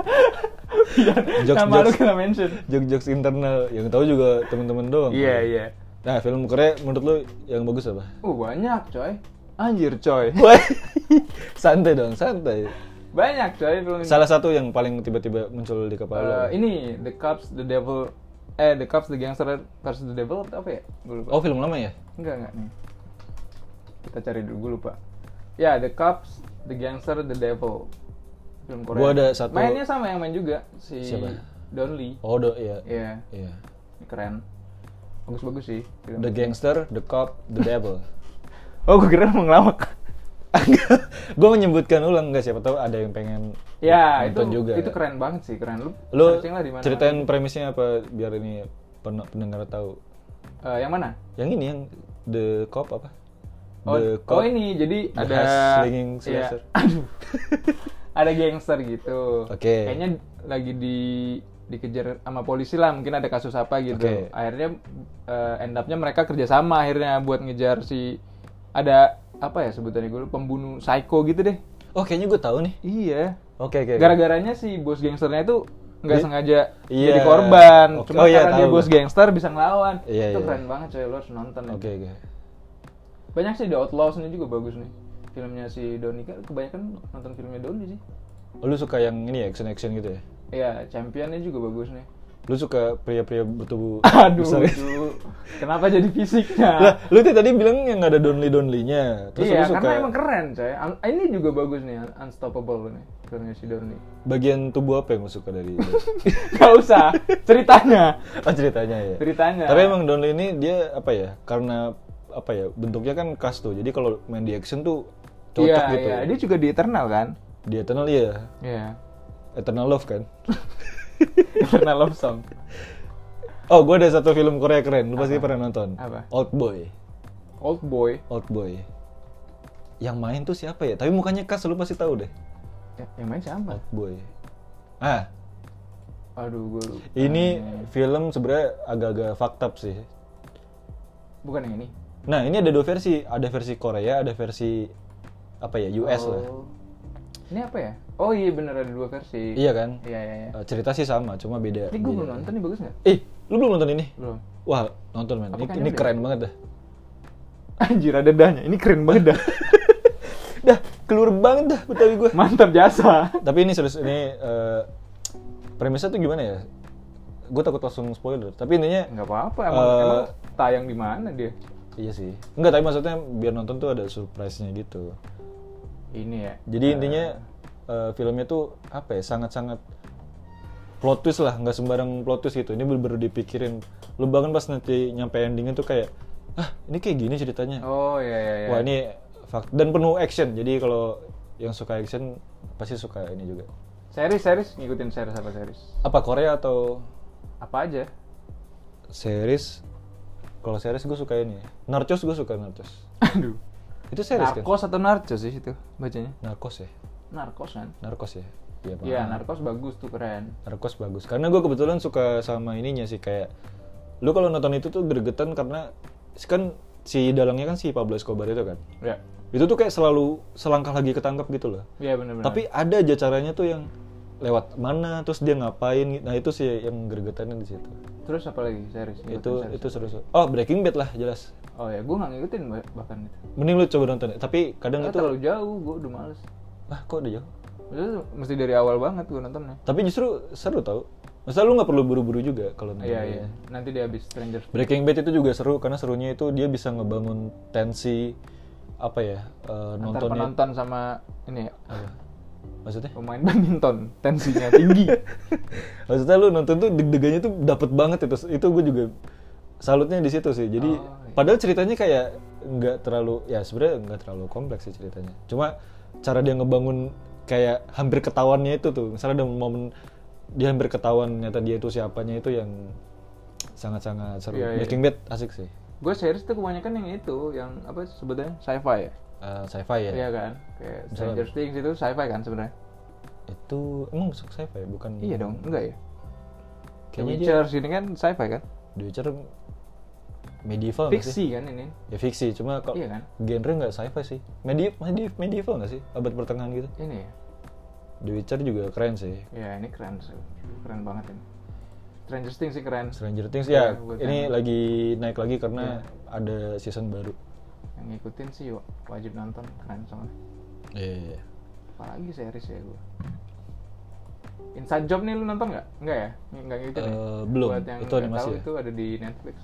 Speaker 2: Biar
Speaker 1: Jokes-
Speaker 2: nama lu
Speaker 1: jokes.
Speaker 2: kena mention.
Speaker 1: jokes-jokes internal yang tahu juga teman-teman doang.
Speaker 2: Iya, iya.
Speaker 1: Nah, film Korea menurut lu yang bagus apa?
Speaker 2: Uh, banyak coy. Anjir coy.
Speaker 1: Wah, santai dong, santai.
Speaker 2: Banyak coy film
Speaker 1: Salah satu yang paling tiba-tiba muncul di
Speaker 2: Eh,
Speaker 1: kepala. lu.
Speaker 2: ini The Cops, The Devil eh The Cops, The Gangster versus The Devil apa ya? Gue lupa.
Speaker 1: oh, film lama ya?
Speaker 2: Enggak, enggak nih. Kita cari dulu, gue lupa. Ya, The Cops, The Gangster, The Devil. Film Korea.
Speaker 1: Gua ada satu-
Speaker 2: Mainnya sama yang main juga si
Speaker 1: Siapa?
Speaker 2: Don Lee.
Speaker 1: Oh, do, iya.
Speaker 2: Iya,
Speaker 1: Iya.
Speaker 2: keren. Bagus-bagus sih film.
Speaker 1: The Gangster, The Cop, The Devil.
Speaker 2: Oh, gue kira mau ngelawak.
Speaker 1: gue menyebutkan ulang nggak siapa tahu ada yang pengen
Speaker 2: ya, itu
Speaker 1: nonton juga.
Speaker 2: itu keren banget sih, keren. Lu,
Speaker 1: Lu
Speaker 2: searching lah di mana?
Speaker 1: ceritain premisnya apa biar ini pen- pendengar tahu.
Speaker 2: Eh, yang mana?
Speaker 1: Yang ini yang The Cop apa?
Speaker 2: Oh,
Speaker 1: The
Speaker 2: oh ini jadi
Speaker 1: The
Speaker 2: ada
Speaker 1: Slinging
Speaker 2: iya.
Speaker 1: Slasher.
Speaker 2: aduh. ada gangster gitu.
Speaker 1: Oke.
Speaker 2: Kayaknya lagi di dikejar sama polisi lah, mungkin ada kasus apa gitu.
Speaker 1: Oke.
Speaker 2: Akhirnya eh, end up-nya mereka kerjasama akhirnya buat ngejar si ada apa ya sebutannya gue lupa, pembunuh psycho gitu deh.
Speaker 1: Oh, kayaknya gue tahu nih.
Speaker 2: Iya.
Speaker 1: Oke, oke. oke.
Speaker 2: Gara-garanya si bos gangsternya itu nggak
Speaker 1: Di-
Speaker 2: sengaja
Speaker 1: Iya.
Speaker 2: jadi korban.
Speaker 1: Oke. Oh,
Speaker 2: Cuma
Speaker 1: iya,
Speaker 2: karena dia
Speaker 1: tahu.
Speaker 2: bos gangster bisa ngelawan.
Speaker 1: Iya,
Speaker 2: itu
Speaker 1: iya.
Speaker 2: keren banget coy, lo harus nonton. itu.
Speaker 1: Oke, oke.
Speaker 2: Banyak sih The Outlaws ini juga bagus nih. Filmnya si Doni kan kebanyakan nonton filmnya Doni sih.
Speaker 1: Lu suka yang ini ya, action-action gitu ya?
Speaker 2: Iya, Championnya juga bagus nih.
Speaker 1: Lu suka pria-pria bertubuh
Speaker 2: Aduh,
Speaker 1: besar gitu?
Speaker 2: aduh. kenapa jadi fisiknya?
Speaker 1: lah lu tuh tadi bilang yang ada donly donlinya terus
Speaker 2: iya,
Speaker 1: lu suka
Speaker 2: karena emang keren coy. Un- ini juga bagus nih, Un- Unstoppable nih filmnya si Doni.
Speaker 1: bagian tubuh apa yang lu suka dari
Speaker 2: Gak usah, ceritanya.
Speaker 1: oh ceritanya ya
Speaker 2: Ceritanya.
Speaker 1: tapi emang donly ini dia apa ya karena apa ya bentuknya kan khas tuh jadi kalau main di action tuh cocok
Speaker 2: iya,
Speaker 1: gitu
Speaker 2: Iya, dia juga di Eternal kan?
Speaker 1: di eternal ya
Speaker 2: Iya.
Speaker 1: eternal love kan
Speaker 2: Eternal Love Song.
Speaker 1: oh gua ada satu film Korea keren lu pasti pernah nonton
Speaker 2: Apa?
Speaker 1: old boy
Speaker 2: Old Boy.
Speaker 1: old boy yang main tuh siapa ya tapi mukanya khas lu pasti tahu deh
Speaker 2: Ya, yang main siapa?
Speaker 1: old boy ah
Speaker 2: Aduh, gue lupa. Eh,
Speaker 1: ini
Speaker 2: iya.
Speaker 1: film sebenarnya agak-agak faktab sih
Speaker 2: Bukan yang ini.
Speaker 1: Nah, ini ada dua versi, ada versi Korea, ada versi apa ya, US lah.
Speaker 2: Oh. Ini apa ya? Oh iya bener ada dua versi.
Speaker 1: Iya kan?
Speaker 2: Iya iya iya.
Speaker 1: Eh, cerita sih sama, cuma beda.
Speaker 2: Ini gue
Speaker 1: beda.
Speaker 2: belum nonton nih bagus nggak?
Speaker 1: Ih, lu belum nonton ini?
Speaker 2: Belum.
Speaker 1: Wah, nonton men.
Speaker 2: Apa
Speaker 1: Ini,
Speaker 2: kayaknya
Speaker 1: ini
Speaker 2: udah?
Speaker 1: keren banget dah.
Speaker 2: Anjir ada dahnya. Ini keren banget dah.
Speaker 1: dah, keluar banget dah betawi gue.
Speaker 2: Mantap jasa.
Speaker 1: Tapi ini serius ini eh, premisnya tuh gimana ya? Gue takut langsung spoiler. Tapi intinya
Speaker 2: Nggak apa-apa. Emang,
Speaker 1: Eh.
Speaker 2: emang tayang di mana dia?
Speaker 1: iya sih. Enggak, tapi maksudnya biar nonton tuh ada surprise-nya gitu.
Speaker 2: Ini ya.
Speaker 1: Jadi intinya eh, filmnya tuh apa ya sangat-sangat plot twist lah, nggak sembarang plot twist gitu. Ini baru dipikirin. Lu bahkan pas nanti nyampe endingnya tuh kayak, ah ini kayak gini ceritanya.
Speaker 2: Oh iya iya. iya.
Speaker 1: Wah ini fak- dan penuh action. Jadi kalau yang suka action pasti suka ini juga.
Speaker 2: Series series ngikutin series apa series?
Speaker 1: Apa Korea atau
Speaker 2: Apa aja?
Speaker 1: series? Kalau series gue suka ini. Narcos gue suka Narcos.
Speaker 2: Aduh.
Speaker 1: Itu series kan?
Speaker 2: Narkos atau narcos sih itu bacanya?
Speaker 1: Narcos ya,
Speaker 2: Narkos kan?
Speaker 1: Narcos ya. Iya Pak.
Speaker 2: Iya, narkos bagus tuh keren.
Speaker 1: Narcos bagus. Karena gue kebetulan suka sama ininya sih kayak lu kalau nonton itu tuh gregetan karena kan si dalangnya kan si Pablo Escobar itu kan.
Speaker 2: Iya.
Speaker 1: Itu tuh kayak selalu selangkah lagi ketangkep gitu loh.
Speaker 2: Iya benar-benar.
Speaker 1: Tapi ada aja caranya tuh yang lewat mana terus dia ngapain nah itu sih yang gregetannya di situ
Speaker 2: terus apa lagi series?
Speaker 1: itu
Speaker 2: Ngikutin series.
Speaker 1: itu seru, seru oh Breaking Bad lah jelas
Speaker 2: Oh ya, gue nggak ngikutin bah- bahkan itu.
Speaker 1: Mending lu coba nonton. Tapi kadang
Speaker 2: Karena
Speaker 1: itu
Speaker 2: terlalu jauh, gue udah males.
Speaker 1: ah kok udah jauh.
Speaker 2: Maksudnya mesti dari awal banget gue nontonnya.
Speaker 1: Tapi justru seru tau. Masa lu nggak perlu buru-buru juga kalau nonton.
Speaker 2: Iya iya. Nanti dia habis Stranger.
Speaker 1: Breaking Bad itu juga seru karena serunya itu dia bisa ngebangun tensi apa ya eh,
Speaker 2: Antar
Speaker 1: nontonnya
Speaker 2: penonton sama ini ya,
Speaker 1: apa? Maksudnya?
Speaker 2: pemain badminton tensinya tinggi.
Speaker 1: Maksudnya lu nonton tuh deg-degannya tuh dapet banget itu. Itu gue juga salutnya di situ sih. Jadi
Speaker 2: Oh, iya.
Speaker 1: padahal ceritanya kayak nggak terlalu ya sebenarnya nggak terlalu kompleks sih ceritanya. Cuma cara dia ngebangun kayak hampir ketahuannya itu tuh. Misalnya ada momen dia hampir ketahuan nyata dia itu siapanya itu yang sangat-sangat seru.
Speaker 2: Iya, iya.
Speaker 1: Breaking Bad asik sih.
Speaker 2: gue series tuh kebanyakan yang itu, yang apa sebetulnya sci-fi ya.
Speaker 1: Eh, sci-fi ya.
Speaker 2: Iya kan? Kayak
Speaker 1: Misalnya Hmm.
Speaker 2: Stranger Things itu sci-fi kan sebenarnya.
Speaker 1: Itu emang masuk sci-fi ya? bukan?
Speaker 2: Iya dong, enggak ya? The
Speaker 1: Kayaknya dia
Speaker 2: Witcher sini kan sci-fi kan?
Speaker 1: The Witcher medieval nggak Oh, sih?
Speaker 2: Fiksi kan ini.
Speaker 1: Ya fiksi, cuma kalau
Speaker 2: Iya kan?
Speaker 1: genre nggak sci-fi sih. Medi medi- medieval nggak sih? Abad pertengahan gitu.
Speaker 2: Ini ya.
Speaker 1: The Witcher juga keren sih.
Speaker 2: Ya, ini keren sih. Keren banget ini. Stranger Things sih keren.
Speaker 1: Stranger Things
Speaker 2: Iya,
Speaker 1: ya,
Speaker 2: gua Iya.
Speaker 1: ini
Speaker 2: tahu.
Speaker 1: lagi naik lagi karena ada season baru.
Speaker 2: Yang ngikutin sih wa- wajib nonton, keren soalnya.
Speaker 1: Iya.
Speaker 2: Apalagi series ya gue. Inside Job nih lu nonton nggak? Nggak ya? Nggak ngikutin ya?
Speaker 1: Eh, belum.
Speaker 2: Buat yang
Speaker 1: Itu
Speaker 2: nggak
Speaker 1: animasi
Speaker 2: tahu
Speaker 1: ya?
Speaker 2: itu ada di Netflix.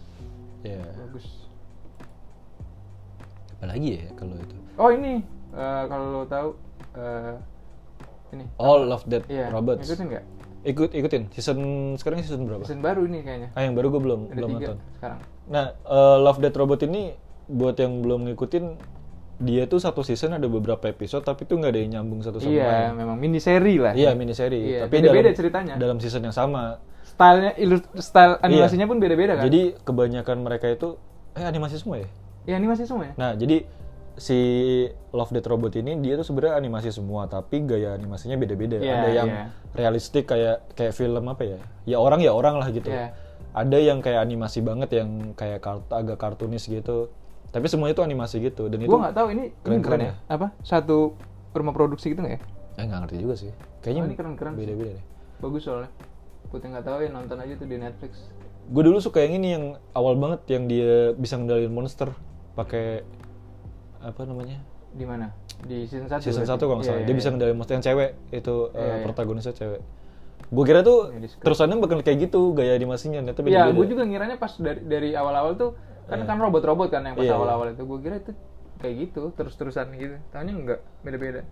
Speaker 1: Iya.
Speaker 2: Bagus.
Speaker 1: Apalagi ya kalau itu.
Speaker 2: Oh ini, eh, kalau lo tahu eh, ini.
Speaker 1: All of Dead
Speaker 2: Iya.
Speaker 1: Robots.
Speaker 2: Ngikutin nggak?
Speaker 1: Ikut ikutin. Season sekarang season berapa?
Speaker 2: Season baru ini kayaknya.
Speaker 1: Ah yang baru gue belum
Speaker 2: Ada
Speaker 1: belum
Speaker 2: tiga
Speaker 1: nonton.
Speaker 2: sekarang.
Speaker 1: Nah, eh, Love Death Robot ini buat yang belum ngikutin dia tuh satu season ada beberapa episode tapi tuh nggak ada yang nyambung satu sama
Speaker 2: Iya,
Speaker 1: lain.
Speaker 2: memang mini seri lah.
Speaker 1: Iya, miniseri.
Speaker 2: Iya,
Speaker 1: Tapi
Speaker 2: beda-beda
Speaker 1: dalam-
Speaker 2: ceritanya.
Speaker 1: Dalam season yang sama.
Speaker 2: Stylenya, ilus- style animasinya pun beda-beda
Speaker 1: Iya.
Speaker 2: kan?
Speaker 1: Jadi kebanyakan mereka itu eh animasi semua ya.
Speaker 2: ya animasi semua ya?
Speaker 1: Nah, jadi si Love Death Robot ini dia tuh sebenarnya animasi semua, tapi gaya animasinya beda-beda.
Speaker 2: Iya,
Speaker 1: ada yang
Speaker 2: iya.
Speaker 1: realistik kayak kayak film apa ya? Ya orang ya orang lah gitu.
Speaker 2: Iya.
Speaker 1: Ada yang kayak animasi banget yang kayak kart- agak kartunis gitu. Tapi semuanya itu animasi gitu dan itu
Speaker 2: Gue nggak tahu ini ini
Speaker 1: keren-keren
Speaker 2: bukan
Speaker 1: ya?
Speaker 2: Apa? Satu rumah produksi gitu nggak ya?
Speaker 1: Eh nggak ngerti juga sih. Kayaknya
Speaker 2: Oh, ini keren-keren sih.
Speaker 1: beda-beda deh.
Speaker 2: Bagus soalnya. Putih nggak tahu ya nonton aja tuh di Netflix.
Speaker 1: Gue dulu suka yang ini yang awal banget yang dia bisa ngendalin monster pakai apa namanya?
Speaker 2: Di mana? Di season Iya, 1.
Speaker 1: Season 1 kalau nggak salah. dia bisa ngendalin monster yang cewek itu eh,
Speaker 2: Iya, iya.
Speaker 1: protagonisnya cewek. Gue kira tuh
Speaker 2: Iya, di script.
Speaker 1: terusannya bakal kayak gitu gaya animasinya tapi
Speaker 2: Iya, gue juga ngiranya pas dari dari awal-awal tuh kan kan robot-robot kan yang pas
Speaker 1: Iya, iya.
Speaker 2: awal-awal itu gue kira itu kayak gitu terus-terusan gitu. Tahunya enggak, beda-beda.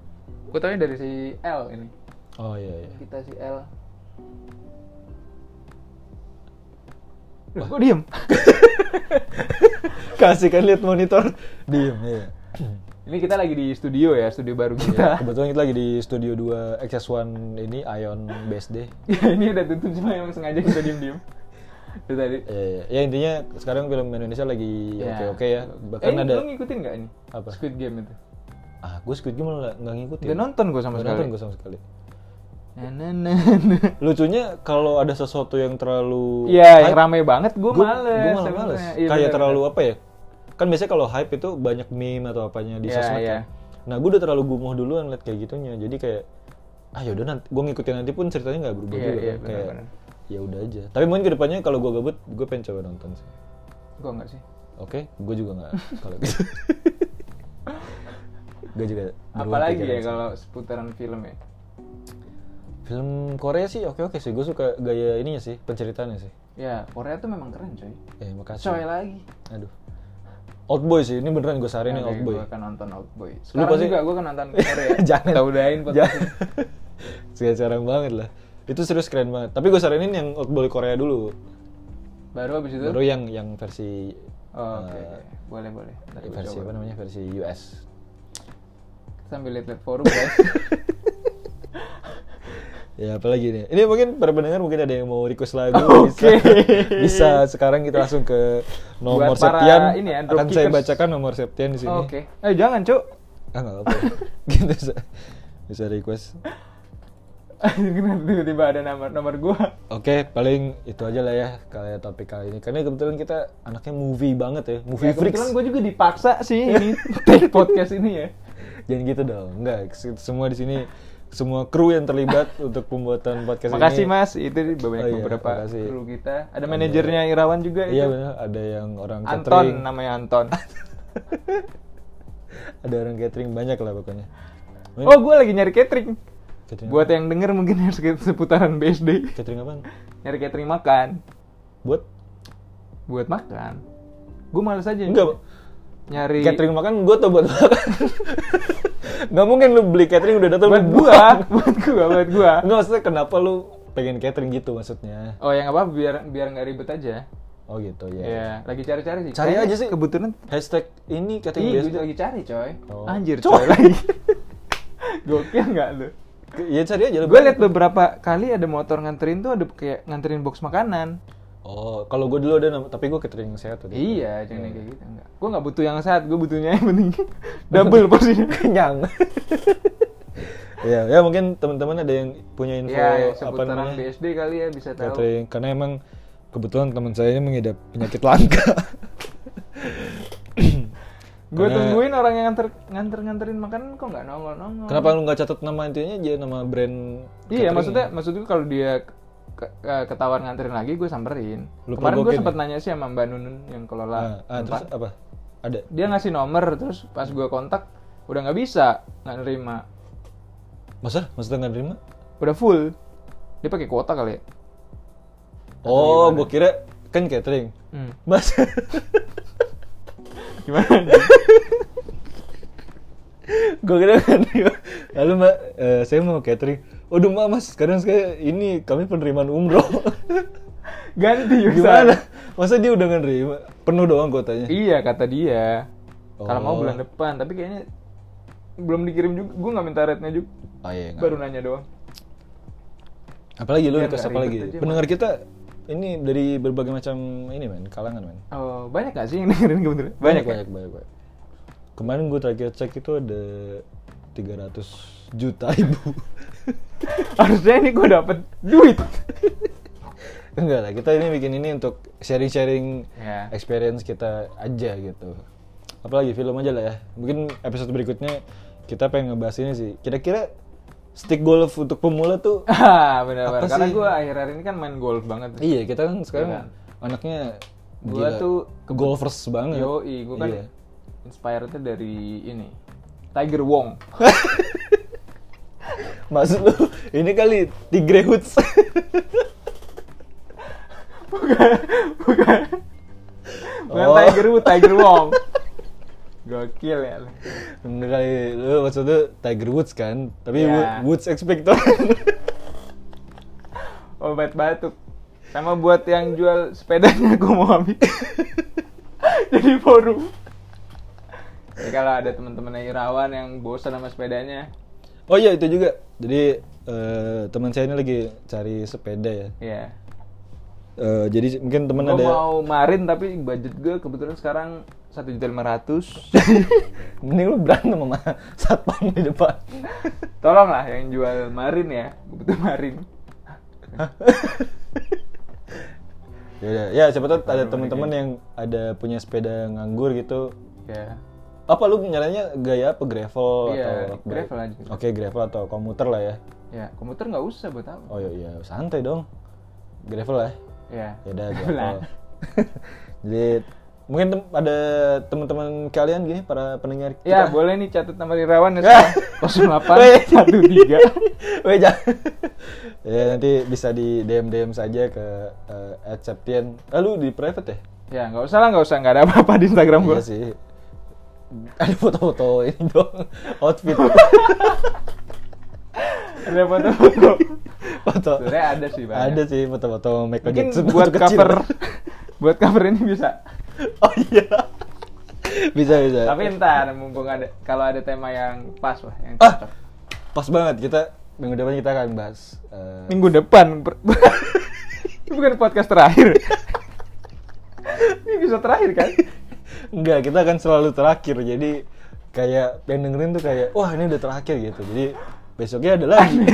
Speaker 2: Gue tahunya dari si L ini.
Speaker 1: Oh iya iya.
Speaker 2: Kita si L. Loh, kok diem?
Speaker 1: Kasih kan lihat monitor diem iya.
Speaker 2: ini kita lagi di studio ya, studio baru
Speaker 1: Iya,
Speaker 2: kita.
Speaker 1: Kebetulan kita lagi di studio 2 XS1 ini Ion BSD.
Speaker 2: Ya, ini udah tutup cuma emang sengaja kita diem-diem. Itu tadi.
Speaker 1: Ya, ya. ya intinya sekarang film Indonesia lagi
Speaker 2: Ya.
Speaker 1: oke-oke ya. Bahkan
Speaker 2: eh,
Speaker 1: ada
Speaker 2: lu ngikutin nggak ini?
Speaker 1: Apa?
Speaker 2: Squid Game itu.
Speaker 1: ah gue Squid Game malah nggak ngikutin.
Speaker 2: Udah nonton gue
Speaker 1: Nggak
Speaker 2: sama sekali.
Speaker 1: nonton gue sama sekali.
Speaker 2: Nah, nah, nah, nah.
Speaker 1: Lucunya kalau ada sesuatu yang terlalu
Speaker 2: Iya, yang
Speaker 1: hype,
Speaker 2: rame banget gue
Speaker 1: gua-
Speaker 2: males.
Speaker 1: gua malah
Speaker 2: sebenarnya.
Speaker 1: males.
Speaker 2: Iya,
Speaker 1: Kayak
Speaker 2: bener,
Speaker 1: terlalu
Speaker 2: bener.
Speaker 1: apa ya? Kan biasanya kalau hype itu banyak meme atau apanya di
Speaker 2: Iya,
Speaker 1: sosmed
Speaker 2: iya.
Speaker 1: kan. Nah, gue udah terlalu gumoh duluan liat kayak gitunya. Jadi kayak ah yaudah nanti gue ngikutin nanti pun ceritanya nggak berubah
Speaker 2: Iya,
Speaker 1: juga
Speaker 2: iya,
Speaker 1: kan.
Speaker 2: bener,
Speaker 1: kayak
Speaker 2: bener.
Speaker 1: ya udah aja. Tapi mungkin kedepannya kalau gue gabut, gue pengen coba nonton sih.
Speaker 2: Gua enggak sih.
Speaker 1: Oke, gue juga nggak kalau gitu. gue juga. berubah
Speaker 2: Apalagi
Speaker 1: pikiran
Speaker 2: ya
Speaker 1: sih.
Speaker 2: kalau seputaran film ya.
Speaker 1: film Korea sih oke oke sih. Gue suka gaya ininya sih, penceritaannya sih.
Speaker 2: Ya, Korea tuh memang keren, coy.
Speaker 1: Eh, makasih.
Speaker 2: Coy lagi.
Speaker 1: Aduh. Old Boy sih, ini beneran gue saranin
Speaker 2: Oke,
Speaker 1: Old Boy.
Speaker 2: Gua akan nonton Outboy. Sekarang
Speaker 1: pasti-
Speaker 2: juga gua akan nonton Korea.
Speaker 1: Jangan.
Speaker 2: Kita udahin podcast.
Speaker 1: Jangan. Ya. Sekarang sekarang banget lah. Itu serius keren banget. Tapi gue saranin yang Old Boy Korea dulu.
Speaker 2: Baru abis itu.
Speaker 1: Baru yang yang versi
Speaker 2: Oh, Oke,
Speaker 1: eh,
Speaker 2: oke. boleh boleh. Ntar gua
Speaker 1: versi
Speaker 2: coba.
Speaker 1: apa namanya? Versi US.
Speaker 2: Sambil lihat forum guys.
Speaker 1: Ya apalagi nih. Ini mungkin para pendengar mungkin ada yang mau request lagu
Speaker 2: Oke.
Speaker 1: bisa. bisa sekarang kita langsung ke nomor
Speaker 2: Buat para
Speaker 1: Septian.
Speaker 2: ini ya,
Speaker 1: Akan saya
Speaker 2: dropkickers.
Speaker 1: bacakan nomor Septian di sini.
Speaker 2: Oke. Eh jangan, Cuk.
Speaker 1: Ah nggak apa-apa. gitu bisa, bisa request.
Speaker 2: Kenapa tiba-tiba ada nomor nomor gua?
Speaker 1: Oke, paling itu aja lah ya kali topik kali ini. Karena kebetulan kita anaknya movie banget ya, movie
Speaker 2: Ya,
Speaker 1: freaks.
Speaker 2: kebetulan gue juga dipaksa sih ini take podcast ini ya.
Speaker 1: Jangan gitu dong, enggak. Semua di sini semua kru yang terlibat untuk pembuatan podcast
Speaker 2: Makasih
Speaker 1: ini.
Speaker 2: Mas, itu banyak
Speaker 1: Oh iya,
Speaker 2: beberapa
Speaker 1: makasih.
Speaker 2: kru kita. Ada manajernya Irawan juga
Speaker 1: Iya
Speaker 2: itu.
Speaker 1: benar, ada yang orang
Speaker 2: Anton
Speaker 1: catering,
Speaker 2: namanya Anton.
Speaker 1: ada orang catering banyak lah pokoknya. Mungkin
Speaker 2: oh, gue lagi nyari catering.
Speaker 1: catering
Speaker 2: Buat yang denger mungkin harus ke seputaran BSD.
Speaker 1: catering apaan?
Speaker 2: Nyari catering makan.
Speaker 1: Buat
Speaker 2: Buat makan. Gue males aja.
Speaker 1: enggak
Speaker 2: Nyari
Speaker 1: catering makan gue tau buat makan. Nggak mungkin lu beli catering udah datang
Speaker 2: buat
Speaker 1: lu
Speaker 2: gua,
Speaker 1: buang.
Speaker 2: buat gua, buat gua.
Speaker 1: Enggak maksudnya kenapa lu pengen catering gitu maksudnya?
Speaker 2: Oh, yang apa biar biar nggak ribet aja.
Speaker 1: Oh gitu
Speaker 2: Ya,
Speaker 1: ya.
Speaker 2: lagi cari-cari sih.
Speaker 1: Cari
Speaker 2: Kayaknya
Speaker 1: aja sih.
Speaker 2: Kebetulan
Speaker 1: Hashtag ini catering
Speaker 2: Iya,
Speaker 1: biasa.
Speaker 2: gitu lagi cari, coy.
Speaker 1: Oh.
Speaker 2: Anjir,
Speaker 1: Coy.
Speaker 2: coy. lagi. Gokil nggak lu?
Speaker 1: Ya cari aja. lu.
Speaker 2: Gue liat beberapa kali ada motor nganterin tuh ada kayak nganterin box makanan.
Speaker 1: Oh, kalau gue dulu ada nama- tapi gue catering sehat waktu itu.
Speaker 2: Iya, jangan kayak gitu enggak. Gue nggak butuh yang sehat, gue butuhnya yang penting double porsinya.
Speaker 1: Kenyang. ya, ya mungkin teman-teman ada yang punya info
Speaker 2: Iya, ya,
Speaker 1: apa
Speaker 2: seputaran
Speaker 1: namanya
Speaker 2: BSD kali ya bisa tahu.
Speaker 1: catering karena emang kebetulan teman saya ini mengidap penyakit langka.
Speaker 2: Gue
Speaker 1: Karena-
Speaker 2: tungguin orang yang nganter nganter nganterin makanan kok nggak nongol nongol.
Speaker 1: Kenapa lu nggak catat nama intinya aja nama brand?
Speaker 2: Iya,
Speaker 1: catering?
Speaker 2: maksudnya maksud gue kalau dia ke- ke- ketahuan nganterin lagi gue samperin.
Speaker 1: Lu
Speaker 2: Kemarin gue
Speaker 1: provokin
Speaker 2: sempet nanya sih sama Mbak Nunun yang
Speaker 1: Ah,
Speaker 2: kelola
Speaker 1: ah, terus
Speaker 2: tempat.
Speaker 1: apa? Ada.
Speaker 2: Dia ngasih nomor terus pas gue kontak udah nggak bisa, nggak nerima.
Speaker 1: Masa? Maksudnya nggak nerima?
Speaker 2: Udah full. Dia pakai kuota kali ya.
Speaker 1: Oh, gue kira kan catering.
Speaker 2: Hmm.
Speaker 1: Mas,
Speaker 2: Gimana?
Speaker 1: gue kira kan Lalu mbak, eh, saya mau catering. Waduh mbak mas, sekarang saya ini kami penerimaan umroh.
Speaker 2: Ganti
Speaker 1: Gimana? Masa dia udah nerima? Penuh doang kuotanya.
Speaker 2: Iya kata dia. Kalau mau
Speaker 1: Oh.
Speaker 2: bulan depan, tapi kayaknya belum dikirim juga. Gue nggak minta rate-nya juga.
Speaker 1: Oh iya. nggak.
Speaker 2: Baru nanya doang.
Speaker 1: Apalagi lu
Speaker 2: Biar
Speaker 1: request
Speaker 2: nggak
Speaker 1: apa lagi?
Speaker 2: ribet aja, Mas.
Speaker 1: Pendengar kita ini dari berbagai macam ini men, kalangan men.
Speaker 2: Oh, banyak gak sih yang dengerin kebeneran? Banyak, ya? banyak.
Speaker 1: banyak, banyak, banyak. Kemarin gue terakhir cek itu ada 300 juta ibu.
Speaker 2: Harusnya ini gue dapet duit.
Speaker 1: Enggak lah, kita ini bikin ini untuk sharing-sharing
Speaker 2: Ya.
Speaker 1: experience kita aja gitu. Apalagi film aja lah ya. Mungkin episode berikutnya kita pengen ngebahas ini sih. Kira-kira stick golf untuk pemula tuh
Speaker 2: Ah, bener bener.
Speaker 1: Apa
Speaker 2: Karena
Speaker 1: sih?
Speaker 2: gue akhir-akhir ini kan main golf banget.
Speaker 1: iya, kita kan sekarang
Speaker 2: Iya.
Speaker 1: anaknya
Speaker 2: Gua
Speaker 1: gila,
Speaker 2: tuh
Speaker 1: golfers banget.
Speaker 2: Yoi, gue kan
Speaker 1: Iya.
Speaker 2: inspirednya dari ini. Tiger Wong.
Speaker 1: Maksud lu ini kali Tigre Hoods.
Speaker 2: Bukan. Bukan
Speaker 1: Oh.
Speaker 2: Tiger Woods, Tiger Wong. Gokil ya. lu.
Speaker 1: Bener kali lu maksudnya Tiger Woods kan, tapi
Speaker 2: Iya.
Speaker 1: Woods Expector.
Speaker 2: obat Oh, batuk sama buat yang jual sepedanya gue mau ambil jadi forum Jadi kalau ada teman-teman Irawan yang bosan sama sepedanya
Speaker 1: oh iya itu juga. Jadi eh, teman saya ini lagi cari sepeda ya.
Speaker 2: ya
Speaker 1: Eh, jadi mungkin temen
Speaker 2: gue
Speaker 1: ada ya?
Speaker 2: mau marin tapi budget gue kebetulan sekarang satu juta
Speaker 1: mending lu berantem sama satpam di depan
Speaker 2: tolonglah yang jual marin ya gue butuh marin
Speaker 1: Yaudah, ya siapa tahu ada teman-teman yang ada punya sepeda nganggur gitu
Speaker 2: ya
Speaker 1: apa lu nyalanya gaya apa gravel
Speaker 2: Iya,
Speaker 1: atau apa?
Speaker 2: gravel aja.
Speaker 1: oke gravel atau komuter lah ya
Speaker 2: ya komputer nggak usah buat apa
Speaker 1: oh iya, iya santai dong gravel lah
Speaker 2: ya
Speaker 1: ya udah
Speaker 2: Lah.
Speaker 1: gravel jadi mungkin tem- ada teman-teman kalian gini para pendengar
Speaker 2: Ya,
Speaker 1: kita.
Speaker 2: boleh nih catat nomor Irawan ya, semua. 0813.
Speaker 1: Weh, jangan. ya nanti bisa di DM DM saja ke eh, at Septian. Ah, lu di private ya?
Speaker 2: Ya, nggak usah lah, nggak usah, nggak ada apa-apa di Instagram gue.
Speaker 1: Iya sih. Ada foto-foto ini dong, outfit.
Speaker 2: ada foto-foto.
Speaker 1: foto.
Speaker 2: Sebenarnya ada sih banyak.
Speaker 1: Ada sih foto-foto Michael
Speaker 2: Mungkin
Speaker 1: Jackson
Speaker 2: buat
Speaker 1: waktu kecil.
Speaker 2: cover, buat cover ini bisa.
Speaker 1: oh iya. bisa bisa.
Speaker 2: Tapi ntar mumpung ada, kalau ada tema yang pas lah, yang
Speaker 1: Ah!
Speaker 2: cocok.
Speaker 1: pas banget kita minggu depan kita akan bahas eh,
Speaker 2: Minggu depan. ber- ini bukan podcast terakhir. ini bisa terakhir kan?
Speaker 1: Enggak, kita akan selalu terakhir. Jadi kayak yang dengerin tuh kayak, wah ini udah terakhir gitu. Jadi besoknya ada lagi.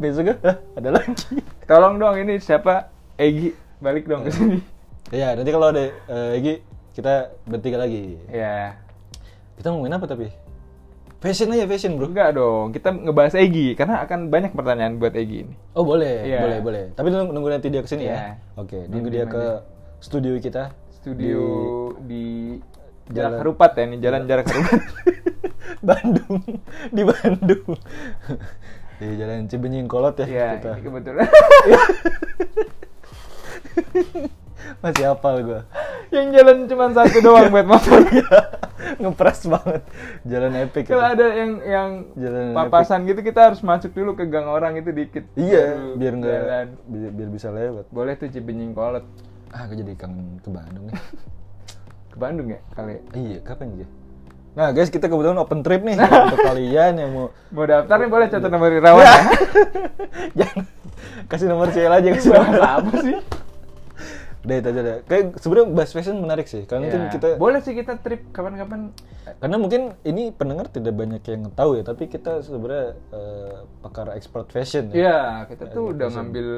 Speaker 1: besoknya "Hah, ada lagi.
Speaker 2: Tolong dong ini siapa? Egi balik dong ke sini.
Speaker 1: Ya, nanti kalau ada eh, Egi, kita bertiga lagi.
Speaker 2: Ya.
Speaker 1: Kita ngomongin apa tapi? Fashion aja fashion bro.
Speaker 2: Ya, Enggak dong, kita ngebahas Egi karena akan banyak pertanyaan buat Egi ini.
Speaker 1: Oh boleh,
Speaker 2: Iya.
Speaker 1: boleh, boleh. Tapi nunggu, nunggu nanti dia kesini
Speaker 2: Iya.
Speaker 1: ya. Oke,
Speaker 2: Diam-diam
Speaker 1: nunggu dia ke
Speaker 2: aja.
Speaker 1: studio kita.
Speaker 2: Studio di, jarak
Speaker 1: Jalan-
Speaker 2: Harupat ya nih, jalan jarak Harupat.
Speaker 1: Bandung, di Bandung. di Jalan Cibenying Kolot ya
Speaker 2: Iya,
Speaker 1: kita.
Speaker 2: ini kebetulan.
Speaker 1: Masih hafal gua.
Speaker 2: Yang jalan cuma satu doang buat motor.
Speaker 1: Ngepres banget. Jalan epic. ya.
Speaker 2: Kalau
Speaker 1: itu.
Speaker 2: ada yang yang
Speaker 1: Jalan
Speaker 2: papasan gitu kita harus masuk dulu ke gang orang itu dikit.
Speaker 1: Iya,
Speaker 2: Baru
Speaker 1: biar nggak
Speaker 2: jalan.
Speaker 1: biar, biar bisa lewat.
Speaker 2: Boleh tuh Cibenying Kolot
Speaker 1: Ah, aku jadi kangen ke Bandung ya.
Speaker 2: ke Bandung ya kali.
Speaker 1: iya, kapan ya? Nah, guys, kita kebetulan open trip nih untuk kalian yang mau
Speaker 2: Mau daftar nih boleh catat nomor Irawan ya.
Speaker 1: jangan kasih nomor CL aja
Speaker 2: Iya.
Speaker 1: kasih nomor.
Speaker 2: Bahasa apa sih?
Speaker 1: Udah itu aja deh. Kayak sebenarnya bahas fashion menarik sih. Karena mungkin
Speaker 2: Ya,
Speaker 1: kita
Speaker 2: boleh sih kita trip kapan-kapan.
Speaker 1: karena mungkin ini pendengar tidak banyak yang tahu ya, tapi kita sebenarnya eh, pakar expert fashion ya.
Speaker 2: Iya, kita tuh udah ngambil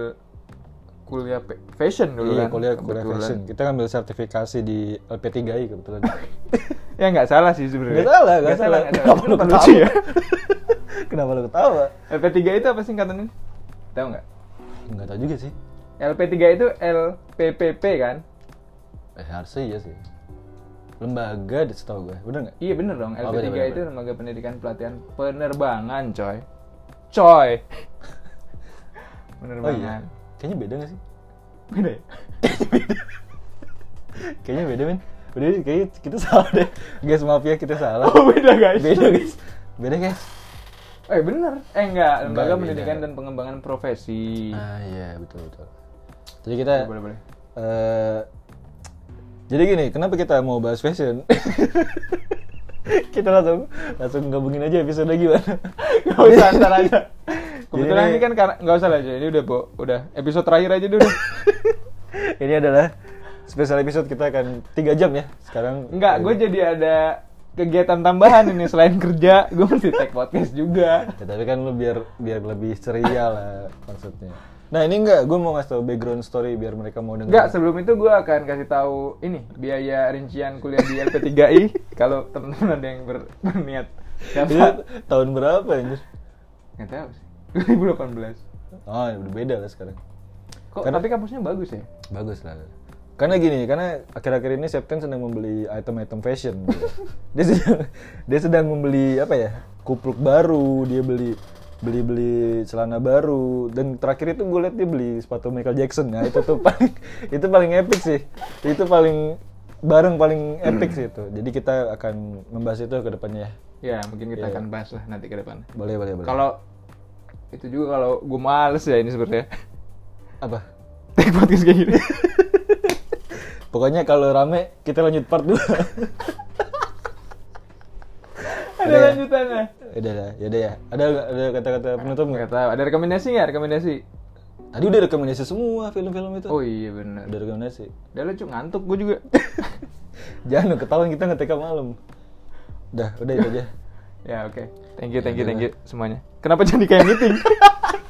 Speaker 2: kuliah pe- fashion dulu
Speaker 1: Iya,
Speaker 2: kan.
Speaker 1: kuliah kuliah
Speaker 2: kebetulan.
Speaker 1: fashion. Kita ngambil sertifikasi di LP3I kebetulan.
Speaker 2: Ya nggak salah sih sebenarnya.
Speaker 1: Gak salah, gak salah.
Speaker 2: nggak
Speaker 1: Kenapa
Speaker 2: Itu
Speaker 1: lu
Speaker 2: lucu
Speaker 1: ketawa?
Speaker 2: ya?
Speaker 1: Kenapa lu ketawa?
Speaker 2: LP3 itu apa singkatannya? Tahu nggak?
Speaker 1: Enggak tahu juga sih.
Speaker 2: LP3 itu LPPP kan?
Speaker 1: Eh, harusnya iya sih. Lembaga deh setahu gue. Bener nggak?
Speaker 2: Iya bener dong,
Speaker 1: Oh,
Speaker 2: LP3
Speaker 1: bener, bener,
Speaker 2: itu
Speaker 1: bener.
Speaker 2: lembaga pendidikan pelatihan penerbangan coy
Speaker 1: Oh
Speaker 2: Coy
Speaker 1: iya.
Speaker 2: Penerbangan
Speaker 1: Kayaknya beda gak sih?
Speaker 2: Beda ya?
Speaker 1: Kayaknya beda men. Udah kayaknya kita salah deh. Guys maaf ya kita salah.
Speaker 2: Oh beda guys
Speaker 1: beda guys. Beda guys.
Speaker 2: Eh bener, eh enggak, lembaga
Speaker 1: beda.
Speaker 2: pendidikan dan pengembangan profesi
Speaker 1: Ah iya betul betul. Jadi kita
Speaker 2: Boleh boleh
Speaker 1: eh, jadi gini, kenapa kita mau bahas fashion? kita langsung langsung gabungin aja episode gimana?
Speaker 2: Gak usah Oh, iya, ntar aja Kebetulan
Speaker 1: Jadi-
Speaker 2: ini kan karena, gak usah lah Joy. ini udah Bo. udah episode terakhir aja dulu
Speaker 1: Ini adalah spesial episode kita akan 3 jam ya. Sekarang eh,
Speaker 2: Enggak, gue jadi ada kegiatan tambahan ini selain kerja Gue mesti take podcast juga
Speaker 1: Ya, tapi kan lu biar biar lebih ceria lah maksudnya. Nah ini enggak, gue mau ngasih tau background story biar mereka mau denger.
Speaker 2: Enggak, sebelum itu gue akan kasih tahu ini biaya rincian kuliah di LP3I kalau teman-teman ada yang ber- berniat
Speaker 1: Ini
Speaker 2: dapat.
Speaker 1: tahun berapa anjir?
Speaker 2: Nggak tahu sih. 2018.
Speaker 1: Oh udah beda lah sekarang.
Speaker 2: Kok
Speaker 1: Karena-
Speaker 2: tapi kampusnya bagus ya?
Speaker 1: Bagus lah. Karena gini, karena akhir-akhir ini Septen sedang membeli item-item fashion. gitu. dia sedang dia sedang membeli apa ya? Kupluk baru, dia beli beli beli celana baru dan terakhir itu gue liat dia beli sepatu Michael Jackson nah itu tuh paling itu paling epic sih itu paling barang paling epic sih itu jadi kita akan membahas itu ke depannya ya
Speaker 2: Ya, mungkin
Speaker 1: Iya.
Speaker 2: kita akan bahas lah nanti ke depan.
Speaker 1: boleh boleh boleh
Speaker 2: Kalau itu juga kalau gue males ya ini sebenarnya.
Speaker 1: apa
Speaker 2: Take podcast kayak gini.
Speaker 1: pokoknya kalau rame kita lanjut part 2
Speaker 2: ada
Speaker 1: Udah ya?
Speaker 2: lanjutannya.
Speaker 1: udah lah ya udah ya ada ada kata-kata penutup nggak
Speaker 2: Nggak tahu, ada rekomendasi nggak? Rekomendasi?
Speaker 1: Tadi udah rekomendasi semua film-film itu.
Speaker 2: Oh iya benar.
Speaker 1: Udah rekomendasi.
Speaker 2: Udah lucu ngantuk gue juga.
Speaker 1: Jangan dong, ketahuan kita ngetek malam. Udah, udah itu aja.
Speaker 2: ya oke. Thank you, thank you, thank you semuanya. Kenapa jadi kayak meeting?